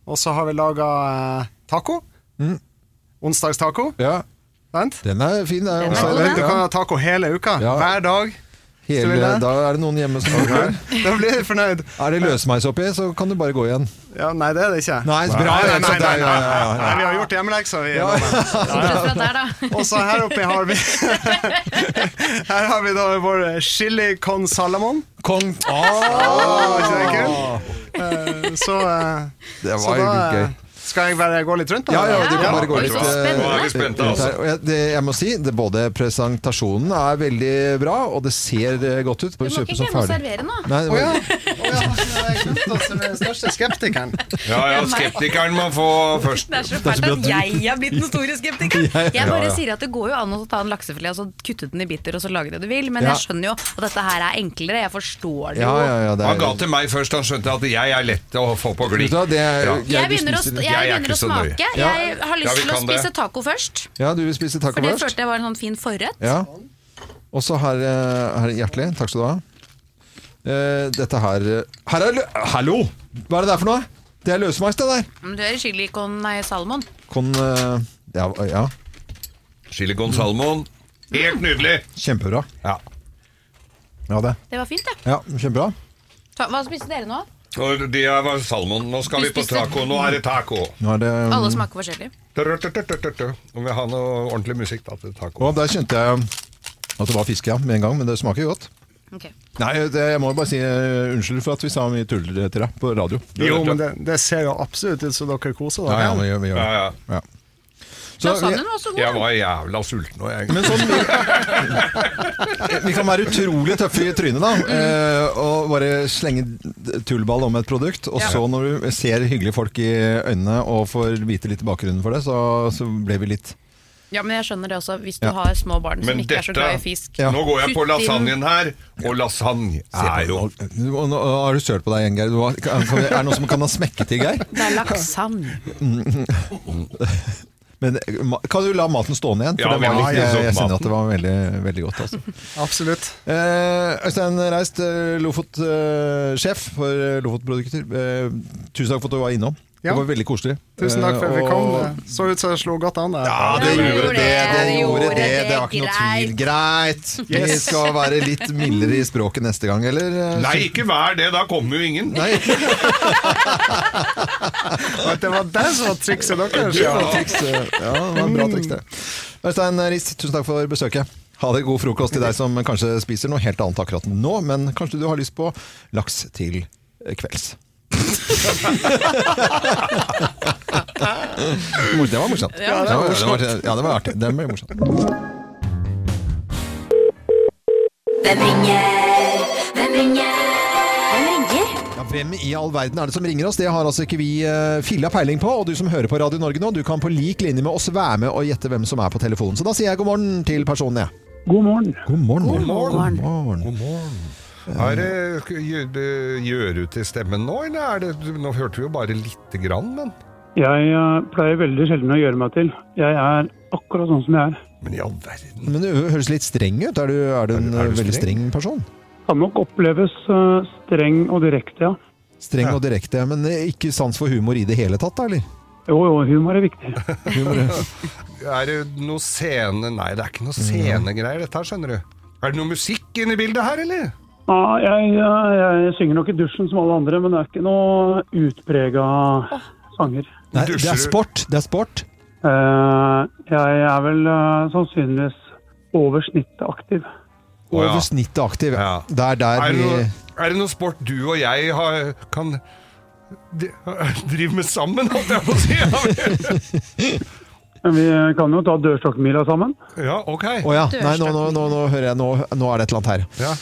Og så har vi laga eh, taco. Mm. Onsdagstaco. Ja. Sant? Den er fin. Det er Ja, også- du kan ha taco hele uka. Ja. Hver dag. hvis du vil Hele, det. da er det noen hjemme som lager her. Da blir du fornøyd. Er det løsmeis oppi, så kan du bare gå igjen. Ja, nei, det er det ikke. Nei, bra, nei, nei, altså, det nei, er- nei, ja, ja, ja. nei, vi har gjort hjemmeleksa, vi. Ja. Og så her oppe har vi Her har vi da vår chili con salamon. Kong Var ikke det kult? Eh, Så, eh, Det var så jo da eh, gøy. skal jeg bare gå litt rundt? da? Ja, ja, du kan bare gå litt Ja. eh, rundt her. altså. Og jeg, det, jeg må si, det, både presentasjonen er veldig bra, og det ser eh, godt ut. Du må ikke glemme å servere nå. Nei, det var- Anton som er den største skeptikeren. Ja, ja, skeptikeren må få først. Det er så fælt at jeg har blitt den store Ja, skeptikeren. ja. Jeg bare Ja, ja. sier at det går jo an å ta en laksefilet og så kutte den i biter og så lage det du vil, men Ja. jeg skjønner jo at dette her er enklere. Jeg forstår det jo. Ja, ja, ja, det er- Han ga til meg først, han skjønte at jeg er lett å få på glid. Ja. Jeg begynner å, jeg begynner å smake. Ja. Jeg har Ja, lyst vi til å kan det. spise taco først, Ja, du vil spise taco for det først? følte jeg var en sånn fin forrett. Ja. Og så her, eh, her Hjertelig, takk skal du ha. Eh, Dette her Her er lø... Hallo! Hva er det der for noe? Det er løsmeis, det der. Men Du er i chili con nei, salmon. Kon... eh, Ja. ja. Chili con salmon. Helt nydelig! Kjempebra. Ja. Ja, det. Det var fint, det. Ja, kjempebra. Ta, hva spiste dere nå? Og de er var salmon. Nå skal vi på taco. Nå er det taco. Nå er det um, Alle smaker forskjellig. Tørrtørrtørrtørrtør. Om vi har noe ordentlig musikk da til taco. Og der kjente jeg eh, at det var fisk, ja, med en gang. Men det smaker jo godt. Ok. Nei, det, jeg må bare si eh, unnskyld for at vi sa mye tull til deg på radio. Jo, men det, det ser jo absolutt ut som dere koser Ja, ja, dere. vi gjør, vi gjør. det. Ja, Ja. Lasagnen vi- var så god, Jeg da. var jævla sulten nå, jeg. Men sånn, vi, vi kan være utrolig tøffe i trynet, da. eh, Og bare slenge tullball om et produkt. Og Ja. så, når du ser hyggelige folk i øynene og får vite litt bakgrunnen for det, så, så ble vi litt Ja, men jeg skjønner det også. Hvis du Ja. har små barn som ikke er så glad i fisk. Nå går jeg på Putt inn- lasagnen her, og lasagne er jo Og nå har du sølt på deg igjen, Geir. Du har, kan, kan- er det noen som kan ha smekket i, Geir? Det er laksagne. Mm. Men eh, ma- kan du la maten stående igjen? For Ja, det var vi har litt, spist jeg, opp jeg kjenner maten. at det var veldig, veldig godt. Altså. Absolutt. Eh, Øystein Reist, eh, Lofot-sjef for eh, Lofot-produkter. Eh, tusen takk for at du var innom. Ja. Det var veldig koselig. Tusen takk for at vi Eh, kom. og- Det så ut som jeg slo godt an der. Ja, det gjorde det, det gjorde det. Det var ikke noe tvil. Greit. Vi Yes. skal være litt mildere i språket neste gang, eller? eh, Nei, ikke vær det, da kommer jo ingen. Nei. At det var det som var trikset deres. Det var triks, eh, Ja, det var bra triks det. Øystein Riis, tusen takk for besøket. Ha det god frokost til deg som kanskje spiser noe helt annet akkurat nå, men kanskje du har lyst på laks til eh, kvelds. Mor- Det var morsomt. Ja, det var var- ja, det var artig. Det ble morsomt. Hvem ringer? Hvem ringer? Hvem ringer? Ja, hvem i all verden er det som ringer oss? Det har altså ikke vi uh, filla peiling på. Og du som hører på Radio Norge nå, du kan på lik linje med oss være med og gjette hvem som er på telefonen. Så da sier jeg god morgen til personen, jeg. God morgen. God morgen. God morgen. God morgen. Er det gjør- det- gjør ut i stemmen nå, eller er det Nå hørte vi jo bare lite grann, men Jeg eh, pleier veldig sjelden å gjøre meg til. Jeg er akkurat sånn som jeg er. Men i all verden Men du høres litt streng ut. Er du, er du en er du veldig streng? streng person? Kan nok oppleves eh, streng og direkte, ja. Streng og direkte, men eh, ikke sans for humor i det hele tatt, da, eller? Jo, jo, humor er viktig. Humor er- Er det noe scene Nei, det er ikke noe Mm. scenegreier, dette her, skjønner du. Er det noe musikk inne i bildet her, eller? Ja, jeg, jeg, jeg synger nok i dusjen som alle andre, men det er ikke noe utprega sanger. Nei, det er sport. Det er sport. Eh, jeg er vel eh, sannsynligvis over snittet aktiv. ja. Over snittet aktiv. Det er der Er det, vi noe, er det noe sport du og jeg har, kan de- drive med sammen, holdt jeg på å si? Men vi kan jo ta dørstokkmila sammen. Ja, ok. Å ja. Nei, nå, nå, nå, nå hører jeg. Nå, nå er det et eller annet her.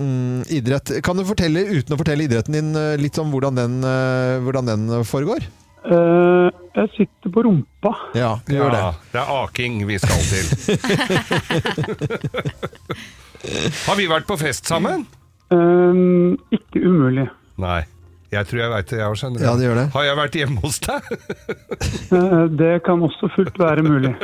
Mm, idrett. Kan du fortelle, uten å fortelle idretten din, eh, litt om hvordan den, eh, hvordan den foregår? Eh, jeg sitter på rumpa. Ja, du gjør det. Ja, det er aking vi skal til. har vi vært på fest sammen? Eh, ikke umulig. Nei. Jeg tror jeg veit det, jeg òg, skjønner du. Ja, det gjør det. Har jeg vært hjemme hos deg? Eh, det kan også fullt være mulig.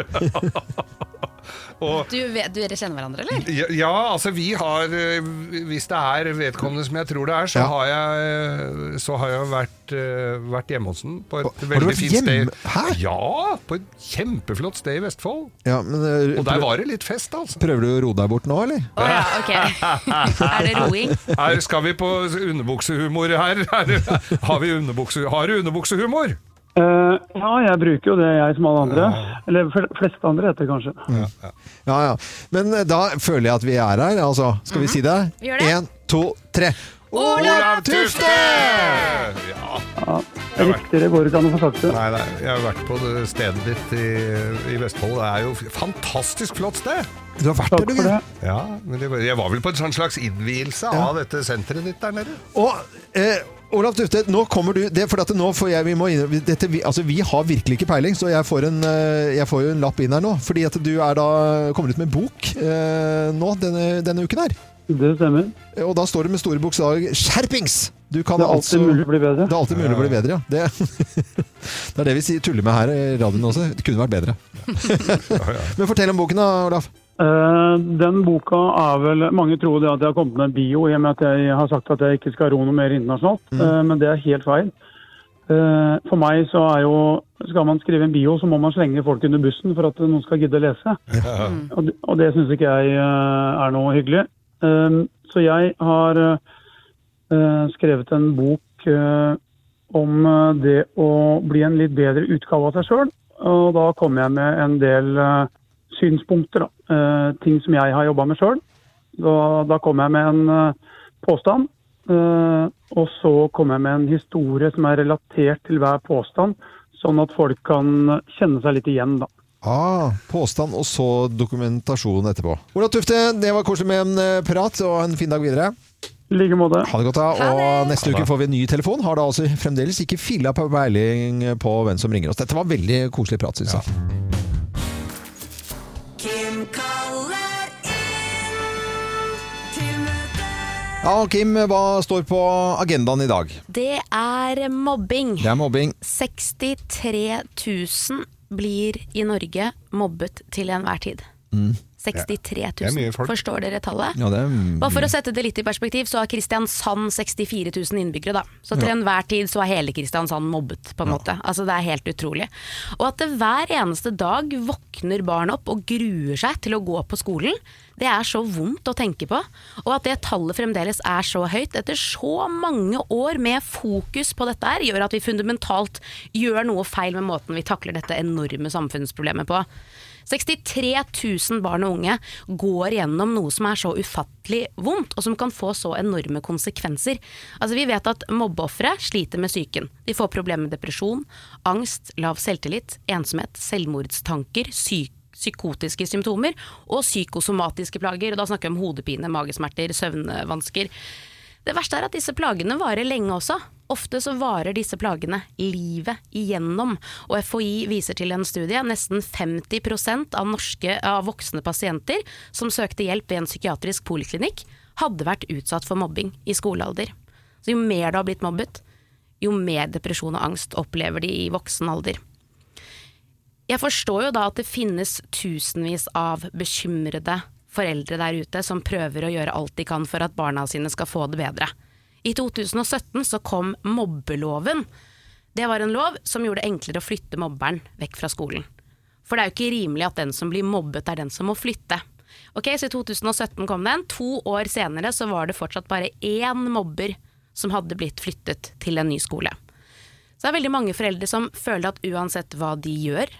Og Du vet, du- dere kjenner hverandre, eller? Ja, ja, altså vi har eh, Hvis det er vedkommende som jeg tror det er, så, Ja. har, jeg, eh, så har jeg vært, eh, vært hjemme hos den på et du veldig vært fint sted. hjemme- Hæ? Ja, på et kjempeflott sted i Vestfold. Ja, men, eh, Og der prøv- var det litt fest, altså. Prøver du å roe deg bort nå, eller? Er det roing? Her skal vi på underbuksehumor her. her har, vi underbukse, har du underbuksehumor? Eh, ja, jeg bruker jo det, jeg som alle andre. Eller fl fleste andre, heter det kanskje. Ja, ja. Men eh, da føler jeg at vi er her, altså. Skal vi si det? Gjør det. En, to, tre. Olav Tufte! Ja. Ja, Riktigere går det ikke an å få sagt det. Nei, nei, jeg har vært på det stedet ditt i, i Vestfold. Det er jo f- fantastisk flott sted. Du har vært der, du, Geir. Ja, men det var, jeg var vel på en sånn slags innvielse av dette senteret ditt der nede. Og, eh, Olav Tufte, nå kommer du det, er fordi at nå får jeg, vi, må inn, dette, vi, altså, vi har virkelig ikke peiling, så jeg får, en, eh, jeg får jo en lapp inn her nå. Fordi at du er da kommer ut med en bok eh, nå denne, denne uken her. Det stemmer. Og da står det med store bokstaver 'Skjerpings'! Du kan Det er alltid altså- mulig å bli bedre. Det er alltid mulig å bli bedre, ja. Det, det er det vi sier- tuller med her i radioen også. Det kunne vært bedre. Men fortell om boken da, Olaf. Eh, Den boka er vel Mange tror det at jeg har kommet med en bio i og med at jeg har sagt at jeg ikke skal ro noe mer internasjonalt, Mm. eh, men det er helt feil. Eh, For meg så er jo Skal man skrive en bio, så må man slenge folk under bussen for at noen skal gidde å lese. Og det, og det syns ikke jeg eh, er noe hyggelig. Um, Så jeg har eh, eh, skrevet en bok eh, om eh, det å bli en litt bedre utgave av seg sjøl. Og da kom jeg med en del eh, synspunkter, da. Eh, Ting som jeg har jobba med sjøl. Da, da kom jeg med en eh, påstand. eh, Og så kom jeg med en historie som er relatert til hver påstand, sånn at folk kan kjenne seg litt igjen, da. Ah, påstand og så dokumentasjon etterpå. Ola Tufte, det var koselig med en eh, prat, og en fin dag videre. I like måte. Ha det godt, da. Og neste Ha det. uke får vi en ny telefon. Har da altså fremdeles ikke filla på peiling på hvem som ringer oss. Dette var veldig koselig prat, syns jeg. Kim kaller inn til møte. Ja, og Kim, hva står på agendaen i dag? Det er mobbing. Det er mobbing. 63 000 blir i Norge mobbet til enhver tid. Mm. 63 Det er mye 000. folk. Forstår dere tallet? Ja, det er Bare for å sette det litt i perspektiv, så har Kristiansand 64 000 innbyggere, da. Så til Ja. enhver tid så er hele Kristiansand mobbet, på en måte. Altså det er helt utrolig. Og at det hver eneste dag våkner barn opp og gruer seg til å gå på skolen, det er så vondt å tenke på. Og at det tallet fremdeles er så høyt, etter så mange år med fokus på dette her, gjør at vi fundamentalt gjør noe feil med måten vi takler dette enorme samfunnsproblemet på. 63 000 barn og unge går gjennom noe som er så ufattelig vondt, og som kan få så enorme konsekvenser. Altså, vi vet at mobbeofre sliter med psyken. De får problemer med depresjon, angst, lav selvtillit, ensomhet, selvmordstanker, syk psykotiske symptomer og psykosomatiske plager. Og da snakker vi om hodepine, magesmerter, søvnvansker. Det verste er at disse plagene varer lenge også. Ofte så varer disse plagene livet igjennom. Og FHI viser til en studie nesten 50 av, norske, av voksne pasienter som søkte hjelp ved en psykiatrisk poliklinikk, hadde vært utsatt for mobbing i skolealder. Så jo mer du har blitt mobbet, jo mer depresjon og angst opplever de i voksen alder. Jeg forstår jo da at det finnes tusenvis av bekymrede foreldre der ute som prøver å gjøre alt de kan for at barna sine skal få det bedre. I 2017 så kom mobbeloven. Det var en lov som gjorde det enklere å flytte mobberen vekk fra skolen. For det er jo ikke rimelig at den som blir mobbet er den som må flytte. Ok, Så i 2017 kom den. To år senere så var det fortsatt bare én mobber som hadde blitt flyttet til en ny skole. Så det er veldig mange foreldre som føler at uansett hva de gjør,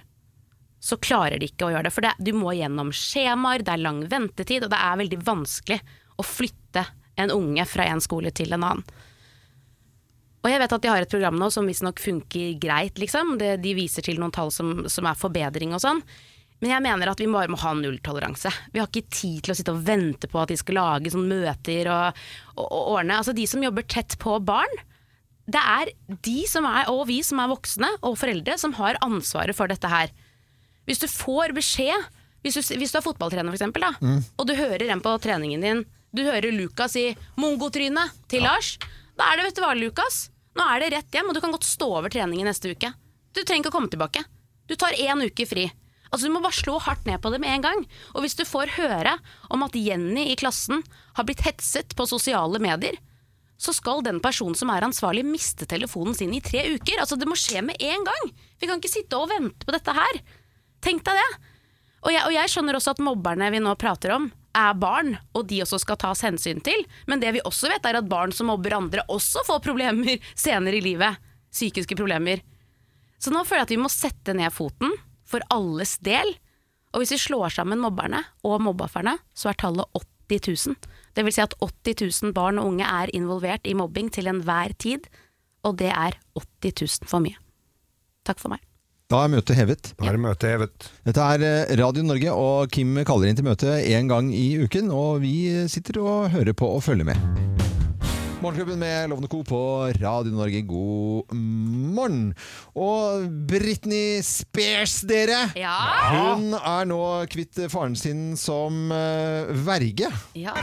så klarer de ikke å gjøre det. For det, du må gjennom skjemaer, det er lang ventetid, og det er veldig vanskelig å flytte en unge fra en skole til en annen. Og jeg vet at de har et program nå som visstnok funker greit, liksom. Det, de viser til noen tall som, som er forbedring og sånn. Men jeg mener at vi bare må ha nulltoleranse. Vi har ikke tid til å sitte og vente på at de skal lage sånne møter og, og, og ordne. Altså de som jobber tett på barn, det er de som er, og vi som er voksne og foreldre, som har ansvaret for dette her. Hvis du får beskjed Hvis du, hvis du er fotballtrener, for eksempel, da, Mm. og du hører en på treningen din Du hører Lukas si 'mongotryne' til Lars. Da er det, vet du hva, Lukas, nå er det rett hjem, og du kan godt stå over treningen neste uke. Du trenger ikke å komme tilbake. Du tar én uke fri. Altså, Du må bare slå hardt ned på det med en gang. Og hvis du får høre om at Jenny i klassen har blitt hetset på sosiale medier, så skal den personen som er ansvarlig miste telefonen sin i tre uker. Altså Det må skje med en gang! Vi kan ikke sitte og vente på dette her. Tenk deg det! Og jeg, og jeg skjønner også at mobberne vi nå prater om, er barn, og de også skal tas hensyn til. Men det vi også vet, er at barn som mobber andre, også får problemer senere i livet. Psykiske problemer. Så nå føler jeg at vi må sette ned foten for alles del. Og hvis vi slår sammen mobberne og mobbeofrene, så er tallet 80 000. Det vil si at 80 000 barn og unge er involvert i mobbing til enhver tid. Og det er 80 000 for mye. Takk for meg. Da er møtet hevet. Da er møtet hevet. Dette er eh, Radio Norge, og Kim kaller inn til møte én gang i uken. Og vi sitter og hører på og følger med. Morgenklubben med Lovende Co. på Radio Norge, god morgen. Og Britney Spears, dere! Ja. Hun er nå kvitt faren sin som eh, verge. Ja.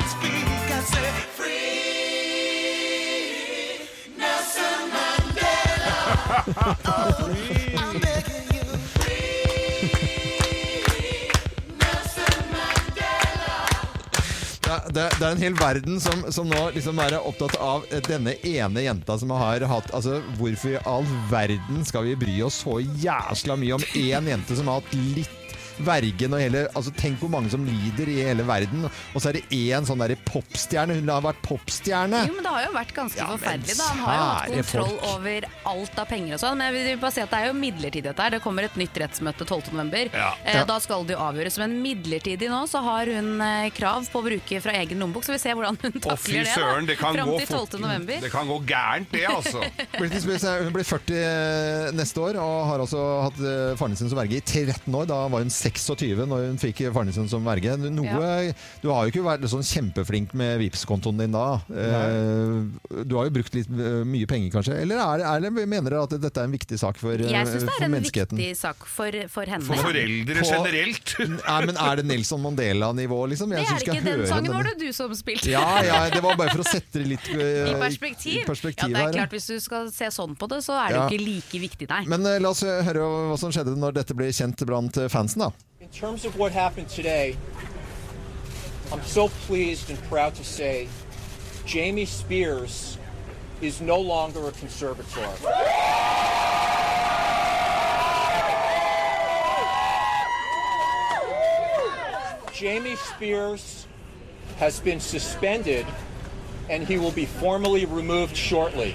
Det er, det, er- det er en hel verden som, som nå liksom er opptatt av eh, denne ene jenta som har hatt Altså, hvorfor i all verden skal vi bry oss så jæsla mye om én jente som har hatt litt vergen og hele Altså, tenk hvor mange som lider i hele verden, og så er det én sånn derre popstjerne. Hun har vært popstjerne. Jo, men det har jo vært ganske forferdelig. da Han har jo hatt kjære kontroll folk. over alt av penger og sånn. Men jeg vil bare si at det er jo midlertidig dette her. Det kommer et nytt rettsmøte 12.11. Ja. Eh, Ja. Da skal det jo avgjøres. Men midlertidig nå så har hun eh, krav på å bruke fra egen lommebok. Så vi ser hvordan hun Å, fy takler det. søren, det da. kan Fram gå til fort. 12.11. Det kan gå gærent, det, altså. Britney Spears er- hun blir 40 neste år og har altså hatt eh, faren sin som verge i 13 år. Da var hun 26 når hun fikk faren sin som verge. Noe, Du har jo ikke vært sånn kjempeflink med Vipps-kontoen din da. Eh, Du har jo brukt litt eh, mye penger, kanskje. Eller er, er, det- mener dere at dette er en viktig sak for, eh, Jeg syns det for er en menneskeheten? viktig sak for, for henne. For foreldre På- generelt. Nei, men Er det Nelson Mandela-nivå, liksom? Det Jeg er synes vi skal ikke den høre sangen denne- var det du som spilte. Ja, ja, det var bare for å sette det litt eh, I perspektiv. i perspektiv ja, det her, er klart Hvis du skal se sånn på det, så er det jo Ja. ikke like viktig, nei. Men eh, la oss høre hva som skjedde når dette ble kjent blant eh, fansen, da. In terms of what happened today, I'm so pleased and proud to say Jamie Spears is no longer a conservator. Jamie Spears has been suspended and he will be formally removed shortly.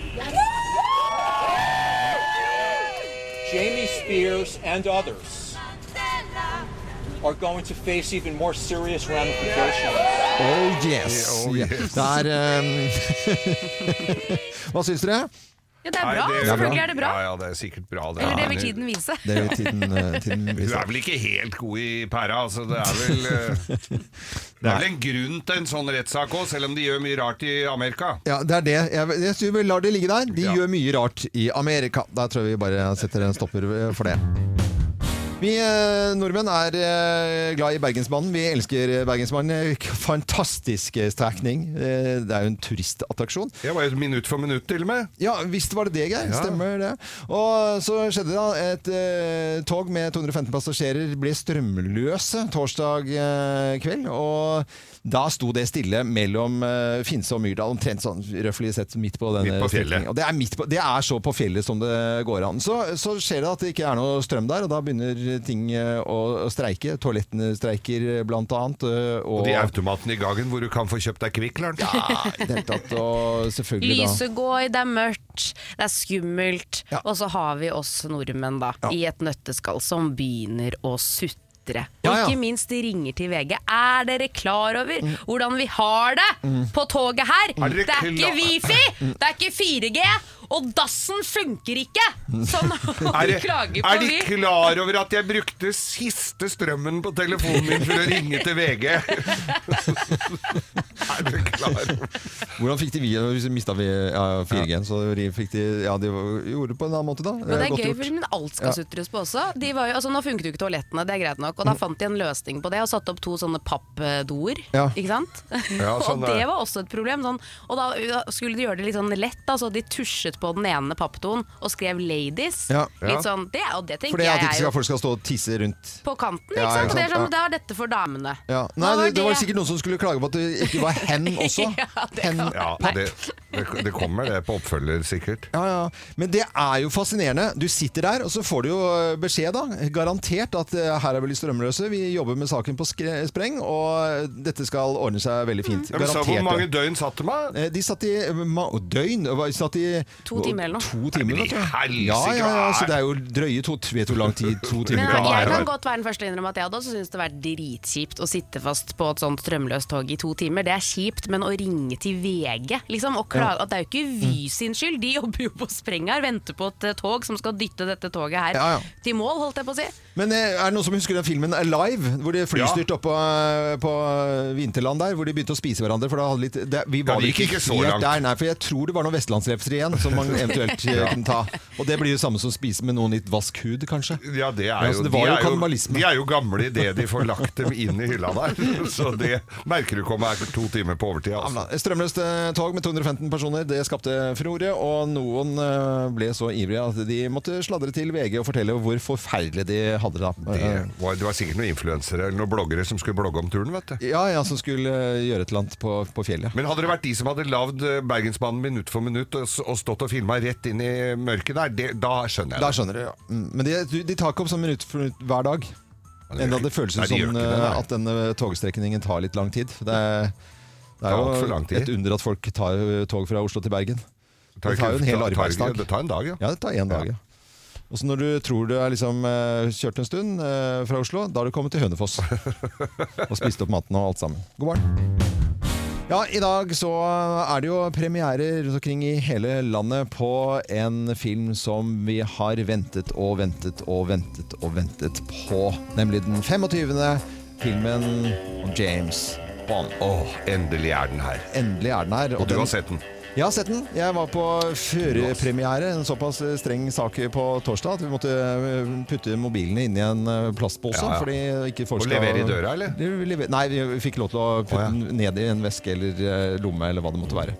Jamie Spears and others are going to face even more serious ramifications. Oh yes! Oh, yes. Det er eh, Hva syns dere? Ja, det er bra. Selvfølgelig er det bra. Ja, ja, det er sikkert bra. Eller det vil tiden vise. Det vil tiden, eh, tiden Hun vise. er vel ikke helt god i pæra, altså. Det er vel, eh, det er vel en grunn til en sånn rettssak òg, selv om de gjør mye rart i Amerika. Ja, det er det. Jeg, jeg synes vi lar det ligge der. De gjør mye rart i Amerika. Da tror jeg vi bare setter en stopper eh, for det. Vi eh, nordmenn er eh, glad i Bergensbanen. Vi elsker eh, Bergensbanen. Eh, Fantastisk eh, strekning. Eh, Det er jo en turistattraksjon. Det var jo minutt for minutt, til og med. Ja, visst var det det, Geir. Ja. Stemmer det. Og så skjedde det da et eh, tog med 215 passasjerer ble strømløse torsdag eh, kveld. Og da sto det stille mellom eh, Finse og Myrdal, omtrent sånn røftlig sett midt på denne Midt på fjellet. strekningen. Og det er, midt på, det er så på fjellet som det går an. Så, så skjer det at det ikke er noe strøm der, og da begynner ting eh, å, å streike. Toalettene streiker eh, blant annet. eh, Og Og, de automatene i gangen hvor du kan få kjøpt deg Kvikk Lunsj. Ja, i det hele tatt. Og selvfølgelig da Lyset går, det er mørkt, det er skummelt. Og så har vi oss nordmenn da, i et nøtteskall som begynner å sutre. Og Ja, ja. ikke minst de ringer til VG. Er dere klar over hvordan vi har det på toget her? Er dere Det er ikke klar- Wifi, Mm. det er ikke 4G, og dassen funker ikke! Sånn Er, de det- klager på er de vi. klar over at jeg brukte siste strømmen på telefonen min for å ringe til VG? er dere klar over Hvordan fikk de vi, hvis de mista vi, ja, 4G-en? Så de fikk de, ja, de gjorde det på en annen måte, da. Eh, Men det Godt er gøy, gjort. for- men alt skal Ja. sutres på også. De var jo, altså, nå funket jo ikke toalettene, det er greit nok. Mm. Og da fant de en løsning på det, og satte opp to sånne pappdoer. Ja. Ikke sant? Ja, sånn og er det. det var også et problem. Sånn, og da ja, skulle de gjøre det litt sånn lett, da, så de tusjet på den ene pappdoen og skrev 'ladies'. Ja. Litt sånn, det, og det tenker Fordi at jeg ikke er skal, jo folk skal stå og tisse rundt på kanten, ikke Ja, sant? ikke Og det er sant, sånn, da er dette for damene. ja. Nei, Hva var det, det var det? sikkert noen som skulle klage på at det ikke var hen også. ja, det Hen. kan Ja, det, det, det kommer det på oppfølger, sikkert. Ja, ja. Men det er jo fascinerende. Du sitter der, og så får du jo eh, beskjed, da. Garantert at eh, her er vi litt strømløse. Vi jobber med saken på skre spreng, og dette skal ordne seg veldig fint. Mm. Ja, men så Garantert. hvor mange det. døgn satt de av? Eh, De satt i eh, ma- døgn det var- de satt i, To timer eller noe. To timer, Nei, men i vet du. helsike, Ja, ja, ja, hva er- så det er jo drøye to Vet du hvor lang tid to timer Men kan jeg være? kan godt være den første til å innrømme at jeg hadde også syntes det var dritkjipt å sitte fast på et sånt strømløst tog i to timer. Det er kjipt, men å ringe til VG liksom, Ja. og Mm. klager at det er jo ikke Vy sin skyld. De jobber jo på sprengar, venter på et eh, tog som skal dytte dette toget her Ja, ja. til mål, holdt jeg på å si. Men eh, er det noen som husker den filmen Alive? Hvor de flystyrt oppe eh, på eh, vinterland der, hvor de begynte å spise hverandre. For da hadde litt, det, vi Ja, var det vel gikk ikke så helt langt. Der, nei, for jeg tror det var noen vestlandsrefser igjen som man eventuelt eh, Ja. kunne ta. Og det blir jo samme som å spise med noen litt vask hud, kanskje. Ja, det Ja, er så jo, det var de, jo er jo, kannibalisme. de er jo gamle i det de får lagt dem inn i hylla der. Så det merker du kommer her to timer på overtid. Altså. Et Strømløst eh, tog med 215 personer, det skapte furore, og noen eh, ble så ivrige at de måtte sladre til VG og fortelle hvor forferdelig de hadde det. da. Det var, det var sikkert noen influensere eller noen bloggere som skulle blogge om turen, vet du. Ja, ja, som skulle eh, gjøre et eller annet på, på fjellet. Men hadde det vært de som hadde lagd Bergensbanen minutt for minutt og, s- og stått og filma rett inn i mørket der, det, da skjønner jeg Da skjønner du, ja. Mm, Men de, du- de tar ikke opp sånn minutt for minutt hver dag. det gjør Enda ikke- det føles Nei, ut de gjør som ikke det, eh, nei. at denne togstrekningen tar litt lang tid. Det er, det Tar er alt for jo lang tid. et under at folk tar eh, tog fra Oslo til Bergen. tar Det tar jo ikke- en hel tar- tar ikke- arbeidsdag. det tar en dag, ja. Ja, det tar en dag, ja. Og så når du tror du er liksom eh, kjørt en stund eh, fra Oslo, da har du kommet til Hønefoss. og spist opp maten og alt sammen. God morgen. Ja, I dag så er det jo premiere rundt omkring i hele landet på en film som vi har ventet og ventet og ventet og ventet på. Nemlig den 25. filmen om James Bond. Åh, endelig er den her. Endelig er den her. Og du har sett den. Jeg har sett den. Jeg var på førpremiere. En såpass streng sak på torsdag at vi måtte eh, putte mobilene inn i en eh, plastpose. Ja, ja. Fordi ikke folk Og skal- levere i døra, eller? Det vi lever- Nei, vi fikk lov til å putte den ned i en veske eller eh, lomme eller hva det måtte være.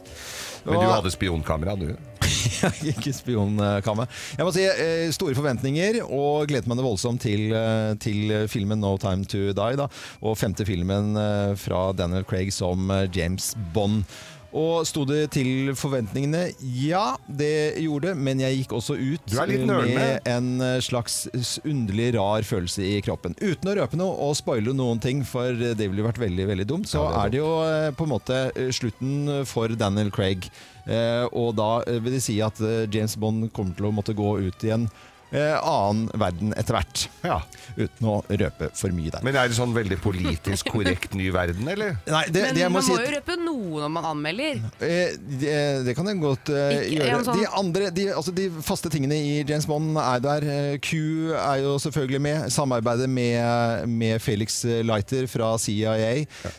Men du Og- hadde spionkamera, du. ikke spionkamme. Jeg må si eh, store forventninger, og gleder meg noe voldsomt til, eh, til filmen 'No Time To Die'. Da, og femte filmen eh, fra Daniel Craig som eh, James Bond. Og sto det til forventningene? Ja, det gjorde det, men jeg gikk også ut Du er litt eh, nølende. med en eh, slags s- underlig rar følelse i kroppen. Uten å røpe noe og spoile noen ting, for eh, det ville jo vært veldig veldig dumt, så er det jo eh, på en måte eh, slutten for Daniel Craig. Eh, og da eh, vil det si at eh, James Bond kommer til å måtte gå ut i en eh, annen verden etter hvert. Uten å røpe for mye der. Men er det sånn veldig politisk korrekt ny verden, eller? Nei, det, Men det jeg må man si må jo røpe noe når man anmelder. Eh, det, det kan jeg godt eh, Ikke- ja, gjøre. men sånn- De andre, de, altså de faste tingene i James Bond er der. Eh, Q er jo selvfølgelig med. Samarbeidet med, med Felix Leiter fra CIA.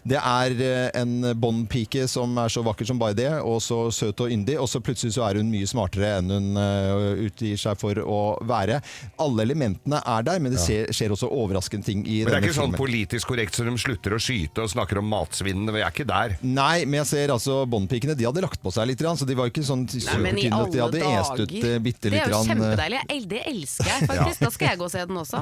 Det er eh, en Bond-pike som er så vakker som bare det, og så søt og yndig. Og så plutselig så er hun mye smartere enn hun eh, utgir seg for å være. Alle elementene er der, men det ser, skjer også overraskende ting i Men det er denne ikke sånn filmen. politisk korrekt så de slutter å skyte og snakker om matsvinnene. Vi er ikke der. Nei, men jeg ser altså Bondpikene, de hadde lagt på seg litt, grann, så de var jo ikke sånn Nei, men i supertynne alle at de hadde est ut eh, dager. bitte det litt. er jo grann, eh. kjempedeilig. Jeg el- Det elsker jeg faktisk. Da skal jeg gå og se den også.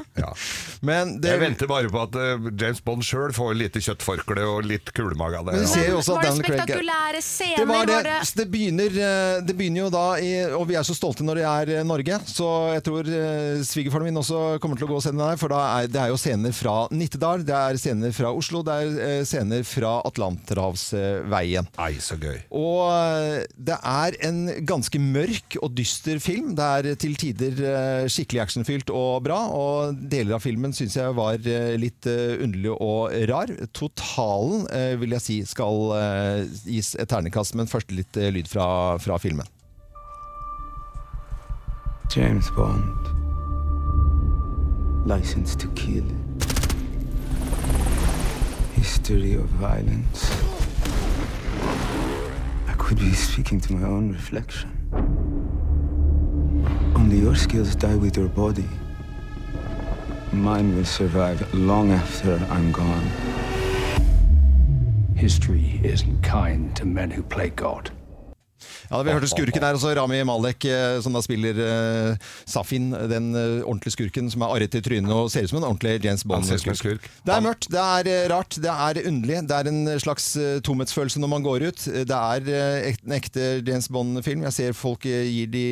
Men det, Jeg venter bare på at eh, James Bond sjøl får lite kjøttforkle og litt kulemage av det. Men vi ser jo også at Var det Daniel Craig er- spektakulære scener? det var det. Var det Det begynner, eh, det begynner jo da i Og vi er så stolte når det er eh, Norge, så jeg tror eh, svigerfaren min også kommer til å gå og se den der. For da er, det er jo scener fra Nittedal, det er scener fra Oslo, det er eh, scener fra Atlanterhavsveien. Nei, så gøy. Og eh, det er en ganske mørk og dyster film. Det er til tider eh, skikkelig actionfylt og bra, og deler av filmen syns jeg var eh, litt eh, underlig og rar. Totalen eh, vil jeg si skal eh, gis et ternekast, men først litt eh, lyd fra, fra filmen. James Bond. License to kill. History of violence. I could be speaking to my own reflection. Only your skills die with your body. Mine will survive long after I'm gone. History isn't kind to men who play God. Ja, Vi hørte skurken her også, Rami Malek, eh, som da spiller eh, Safin. Den eh, ordentlige skurken som er arret i trynet og ser ut som en ordentlig James Han ser ut som en Bond-skurk. skurk. Det er mørkt, det er eh, rart, det er underlig. Det er en slags eh, tomhetsfølelse når man går ut. Det er eh, ek- en ekte James Bond-film. Jeg ser folk eh, gir de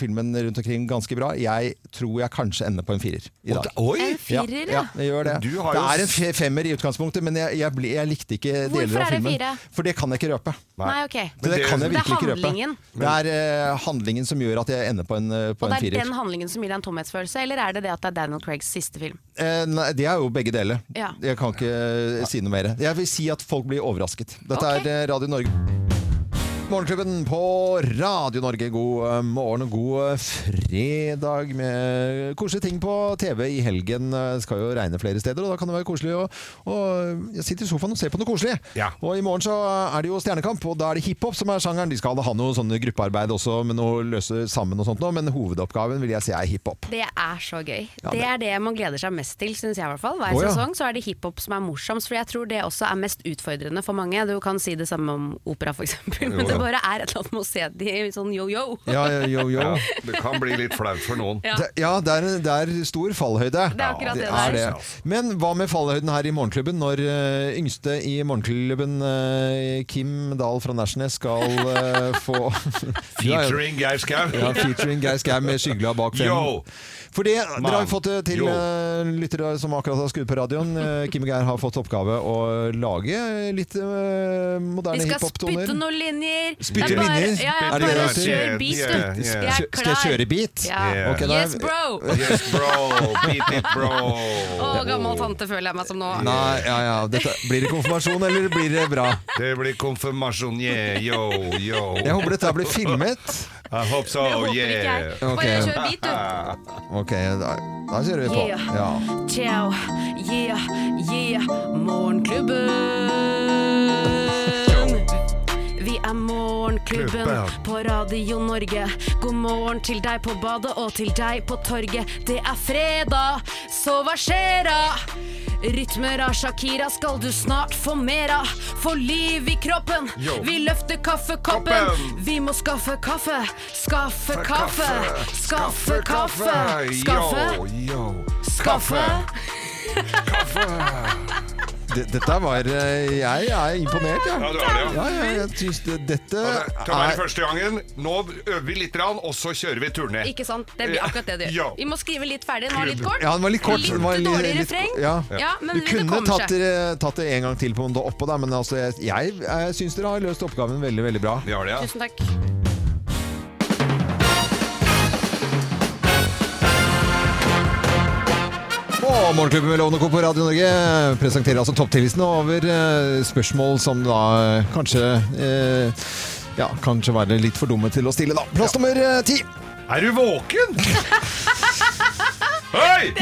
filmen rundt omkring ganske bra. Jeg tror jeg kanskje ender på en firer i dag. Oi! En firer, ja? ja. ja jeg gjør det. Du har det jo er en fe- femmer i utgangspunktet, men jeg, jeg, ble, jeg likte ikke Hvorfor deler er av det filmen. fire? For det kan jeg ikke røpe. Nei, ok. Det, det kan jeg Det er virkelig ikke røpe. handlingen. Det er eh, handlingen som gjør at jeg ender på en, eh, på en Og det er firer. den handlingen som gir deg en tomhetsfølelse, eller er det det at det er Daniel Craigs siste film? Eh, nei, det er jo begge deler. Ja. Jeg kan ikke eh, si noe mer. Jeg vil si at folk blir overrasket. Dette er eh, Radio Norge. Morgenklubben på Radio Norge. God eh, morgen og god fredag med koselige ting på TV i helgen. Eh, Det skal jo regne flere steder, og da kan det være koselig å, å sitte i sofaen og se på noe koselig. Og i morgen så er det jo Stjernekamp, og da er det hiphop som er sjangeren. De skal ha noe sånne gruppearbeid også, med noe løse sammen og sånt nå, men hovedoppgaven vil jeg si er hiphop. Det er så gøy. Ja, det det- er det man gleder seg mest til, syns jeg i hvert fall. Hver Å, ja. sesong så er det hiphop som er morsomst, for jeg tror det også er mest utfordrende for mange. Du kan si det samme om opera f.eks., men Jo, ja. det bare er et eller annet med å se de sånn yo-yo. Ja, det kan bli litt flaut for noen. Ja. Det, ja, det er, det er stor fallhøyde. Det er akkurat det er det er. Men hva med fallhøyden her i Morgenklubben, når eh, yngste i Morgenklubben, eh, Kim Dahl fra Nashnes, skal eh, få Featuring Geir Skau. Ja, featuring Geir Skau med skyggelua bak fem. Yo! For det, dere har Man. jo fått det til Yo. eh, lyttere som akkurat har skrudd på radioen. Eh, Kim og Geir har fått oppgave å lage litt eh, Vi moderne skal hiphop-toner. spytte noen linjer! Det er Spytte bare- linjer? Ja, ja, Er det bare det du sier? kjør beat, Yeah, du. yeah. Jeg er Kjø- skal jeg klar. kjøre beat? Ja. Ok, da- Yes, bro! Yes, bro! Beat it, bro! Å, gammel tante føler jeg meg som nå. Nei, ja, ja. Dette, blir det konfirmasjon, eller blir det bra? Det blir konfirmasjon, yeah, yo, yo. Jeg håper dette blir filmet. I hope so, Det håper ikke yeah. jeg. Bare Ok. kjør beat, Ok, da, da kjører vi på. Yeah. Ja. Ciao, yeah, yeah, morgenklubben. Vi er Morgenklubben Klubben. på Radio Norge. God morgen til deg på badet og til deg på torget. Det er fredag, så hva skjer da? Rytmer av Shakira skal du snart få mer av. Få liv i kroppen. Yo. Vi løfter kaffekoppen. Vi må skaffe kaffe. Skaffe kaffe. Skaffe kaffe. Skaffe. Yo, yo. Skaffe. D- Dette var eh, Jeg er imponert, jeg. Ja, du er det, ja. ja, ja, jeg synes det, dette Det kan være er første gangen. Nå øver vi litt, grann, og så kjører vi turné. Ikke sant? Det blir akkurat det du gjør. Ja. Vi må skrive litt ferdig. Den var litt kort. Ja, den var litt kort. den var dårlig litt- refreng. Ja. Ja, men du det kunne kommer tatt seg. det, tatt det en gang til på en da oppå, da, men altså, jeg, jeg, jeg syns dere har løst oppgaven veldig, veldig bra. Vi har det, Tusen takk. Og Morgenklubben med Lovende Co. på Radio Norge presenterer altså topptillitsene over eh, spørsmål som da eh, kanskje eh, ja, kanskje være litt for dumme til å stille, da. Plass nummer eh, ti. Er du våken? Hei!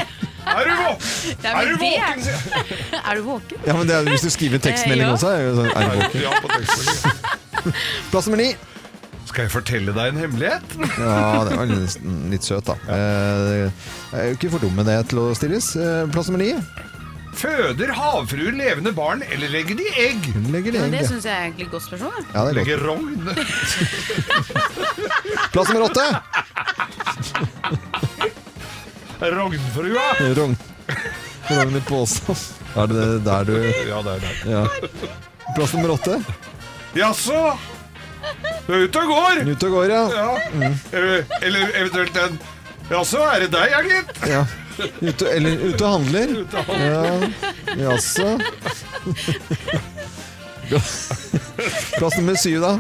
Er du våken? Ja, Er men du det er- våken? Er du våken? Ja, men det er, Hvis du skriver tekstmelding Eh, ja. også, er det jo sånn, er det våken? Ja, på tekstmelding. Plass nummer ni. Skal jeg fortelle deg en hemmelighet? Ja, det var litt, litt søt, da. Eh, Jeg er jo ikke for dum med det til å stilles. Eh, Plass nummer ni. Føder havfruer levende barn, eller legger de egg? Hun legger det Men egentlig. det syns jeg er egentlig et godt spørsmål. Ja, det er godt. Legger rogn? Plass nummer åtte. Rognfrua? Rogn. Rogn i påsen. Er det der du Ja, det er der. Ja. Plass nummer åtte. Jaså? Du er ute og går? Ut og går, ja. Mm. Eller eller eventuelt en Jaså, er det deg, ja, gitt? ja. Ute, eller ute og handler. Ute og handler. Ja, Jaså. Plass nummer syv, da.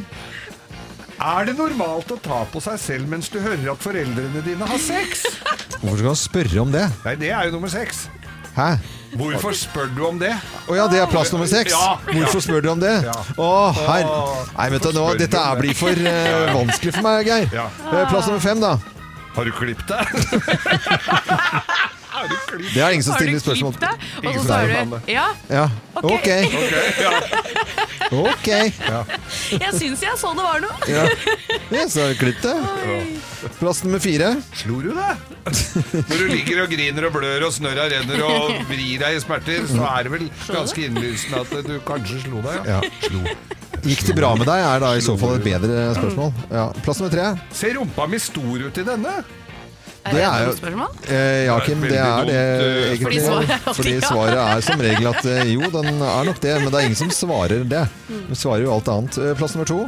Er det normalt å ta på seg selv mens du hører at foreldrene dine har sex? Hvorfor skal han spørre om det? Nei, det er jo nummer seks. Hæ? Hvorfor spør du om det? Å ja, det er plass nummer seks. Ja, ja. Hvorfor spør du om det? Ja. Å, herr... Nei, vet du, nå, Hvorfor spør dette du om er, det? blir for eh, Ja, ja. vanskelig for meg, Geir. Ja. Eh, plass nummer fem, da. Har du klippet deg? Det er ingen som stiller spørsmål. Har du klippet deg? Og Ingen så som svarer stiller du ja. Ja. Ok. Ok. ja. Ja. Jeg syns jeg så det var noe. Ja. så har du klippet det. Plass nummer fire. Slo du det? Når du ligger og griner og blør og snørra renner og vrir deg i smerter, så er det vel ganske innlysende at du kanskje slo deg, Ja. Slo. Gikk det bra med deg, er da i så fall et bedre spørsmål. Mm. Ja. Plass nummer tre. Ser rumpa mi stor ut i denne? Det er jo eh, Ja, Kim, det er det Veldig dumt, eh, egentlig. fordi svaret er alltid Fordi ja. svaret er som regel at eh, jo, den er nok det, men det er ingen som svarer det. Mm. Vi svarer jo alt annet. Eh, Plass nummer to.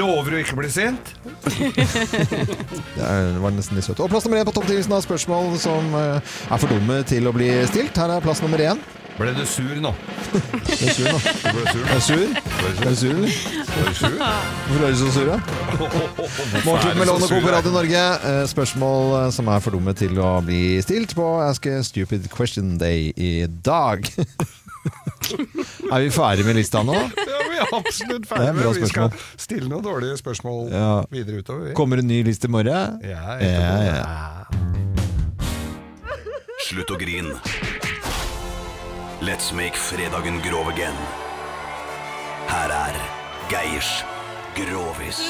Lover å ikke bli sint? Det er- var nesten litt søtt. Og plass nummer én på topptillitsen av spørsmål som eh, er for dumme til å bli stilt. Her er plass nummer én. Ble du sur nå? Du er sur nå. Du ble sur. Er du sur? Er du sur? Ble Hvorfor er du du sur? så sur, da? Morgenklubben med Lovende Co. på Radio Norge. Eh, Spørsmål eh, som er for dumme til å bli stilt på Ask a Stupid Question Day i dag. er vi ferdig med lista nå? Ja, vi absolutt Det er ferdig et med. bra Vi skal spørsmål. stille noen dårlige spørsmål Ja. videre utover. vi. Kommer en ny liste i morgen? Ja, ja, etterpå. ja. Slutt å grin. Let's make fredagen grov again. Her er Geirs Grovis.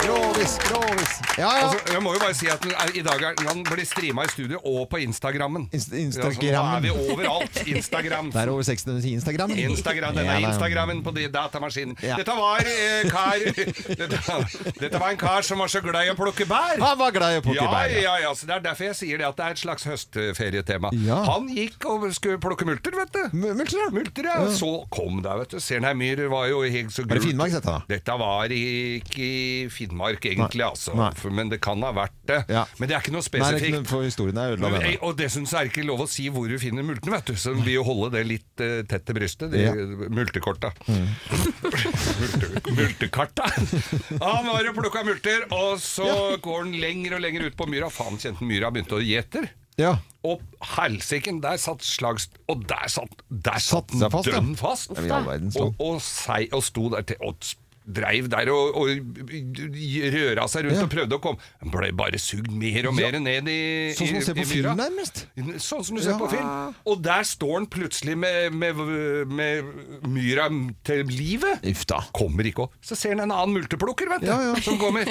Grovis, grovis. Altså, jeg må jo bare si at den er, i dag er, den blir streama i studio og på Instagrammen. Ja, så Instagrammen. nå er vi overalt. Instagram. Det er over 600 i Instagram. Instagram, Ja, denne det er- Instagrammen på de datamaskinen. Ja. Dette var eh, kar dette, dette var en kar som var så glad i å plukke bær. Han var glad i å plukke ja, bær, ja. Ja, ja, så Det er derfor jeg sier det at det er et slags høstferietema. Ja. Han gikk og skulle plukke multer, vet du. Multer, ja. ja. Ja. Så kom der, vet du. Sernheimyr var jo helt så Var det gult. Finnmark, dette, da? Dette var i- ikke i Finnmark, egentlig, Nei. altså. Nei. For- Men det kan ha vært det. Men det er ikke noe Nei, det er ikke spesifikt. eh, noe for historien er ødela Men, denne. ei, og dessuten så er det ikke lov å si hvor du finner multene, vet du. Så vi jo holde det litt eh, tett til brystet, de Ja. Mm. multekorta. Multe, multekarta! Han var og plukka multer, og så går han lenger og lenger ut på myra. Faen, kjente han myra begynte å gjete. Ja. Og helsiken, der satt slags Og der satt, der satt seg den fast, ja. dønn fast! Ja, i all verdens land. og, og, sei, og sto der til og s- dreiv der og, og røra seg rundt og prøvde å komme. Han ble bare sugd mer og mer Ja. ned i Sånn som i- man ser på i myra. film, nærmest. Sånn som du ser Ja. på film. Og der står han plutselig med, med, med myra til livet. Kommer ikke opp. Så ser han en annen multeplukker, vet du, Ja, ja. som kommer.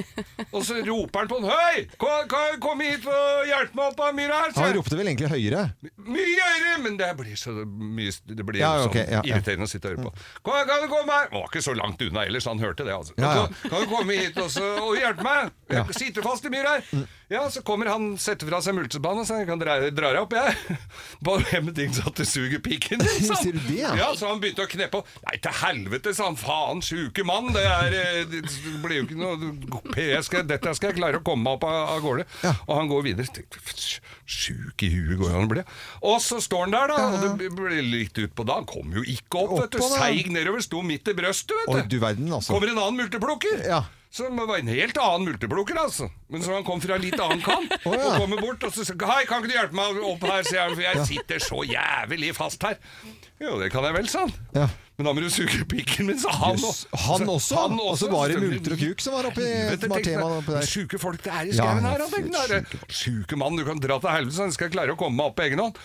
Og så roper han på han Hei, kom, kom, kom hit og hjelp meg opp av myra her! sier Han han. ropte vel egentlig høyere. Mye høyere! Men det blir så mye Det blir Ja, ok, sånn ja, ja. irriterende å sitte og høre på. Kom, kan du komme her? Han var ikke så langt unna ellers, han hørte det. Altså. Ja, ja. Kan, kan du komme hit og, så, og hjelpe meg? Jeg sitter fast i myra Mm. her. Ja, så kommer han, setter fra seg multebanen og sier jeg kan dra dra deg opp, jeg. Bare med ting sånn at det suger pikken din, sa han. Sier du det, ja? Ja, så han begynte å kneppe og Nei, til helvete, sa han. Faen, sjuke mann. Det, er, eh, det blir jo ikke noe jeg skal, Dette skal jeg klare å komme meg opp av, av gårde. Og han går videre. Tenkte, Sjuk i huet går han og blir. Og så står han der, da. Og det blir litt utpå da. Han kom jo ikke opp, vet du. Oppå, da. Seig nedover. Sto midt i brøstet, vet Oi, du verden, altså. Kommer en annen multeplukker. Som var en helt annen multeplukker, altså. Men så han kom fra en litt annen kant. Å, ja. Og kommer bort og så sier Hei, kan ikke du hjelpe meg opp her, sier han, for jeg sitter så jævlig fast her. Jo, det kan jeg vel, sa han. Men da må du suge pikken min, sa han Altså, Jøss, han også? Og så var det multer og kuk som var oppe i- som var tema oppi der. Sjuke folk det er i Ja, skauen ja, her, han tenkte. sjuke "Det er Sjuke mann, du kan dra til helvete, så han skal klare å komme meg opp på egen hånd.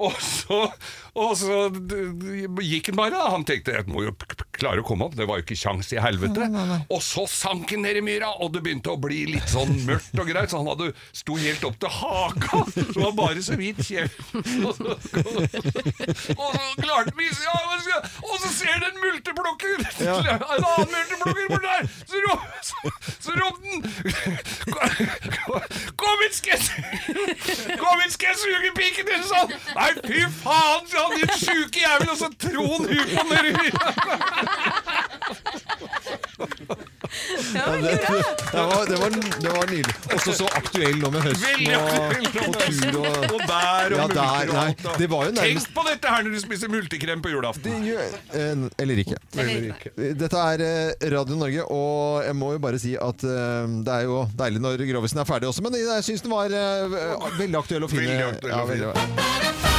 Og så, og så d- d- gikk han bare. da. Han tenkte jeg må jo k- k- klare å komme opp, det var jo ikke kjangs i helvete. Og så sank han ned i myra, og det begynte å bli litt sånn mørkt og greit, så han hadde sto helt opp til haka. Det var bare så vidt kjeften. Og så, og så klarte vi ja, hva skal jeg- Og så ser han en multeplukker! Ja. En annen multeplukker borti der! Så ro- så- Så ropte han "Kom- Kom hit, skal jeg su- Kom hit, skal jeg suge piken din! sa han. Nei, fy faen, sa han, din sjuke jævel! Og så tro han huet på den Ja, det, det, var, det, var, det var nydelig. Også så aktuell nå med høsten Veldig og, aktuell og tur nå med og høsten. Og bær og ja, multer der, og alt, nei, da. Det var jo nærmest Tenk på dette her når du spiser multekrem på julaften! Eh, Eller ikke. Eller ikke. Dette er eh, Radio Norge, og jeg må jo bare si at eh, det er jo deilig når Grovisen er ferdig også, men jeg syns den var eh, veldig aktuell og fin. Veldig aktuell og fin. veldig.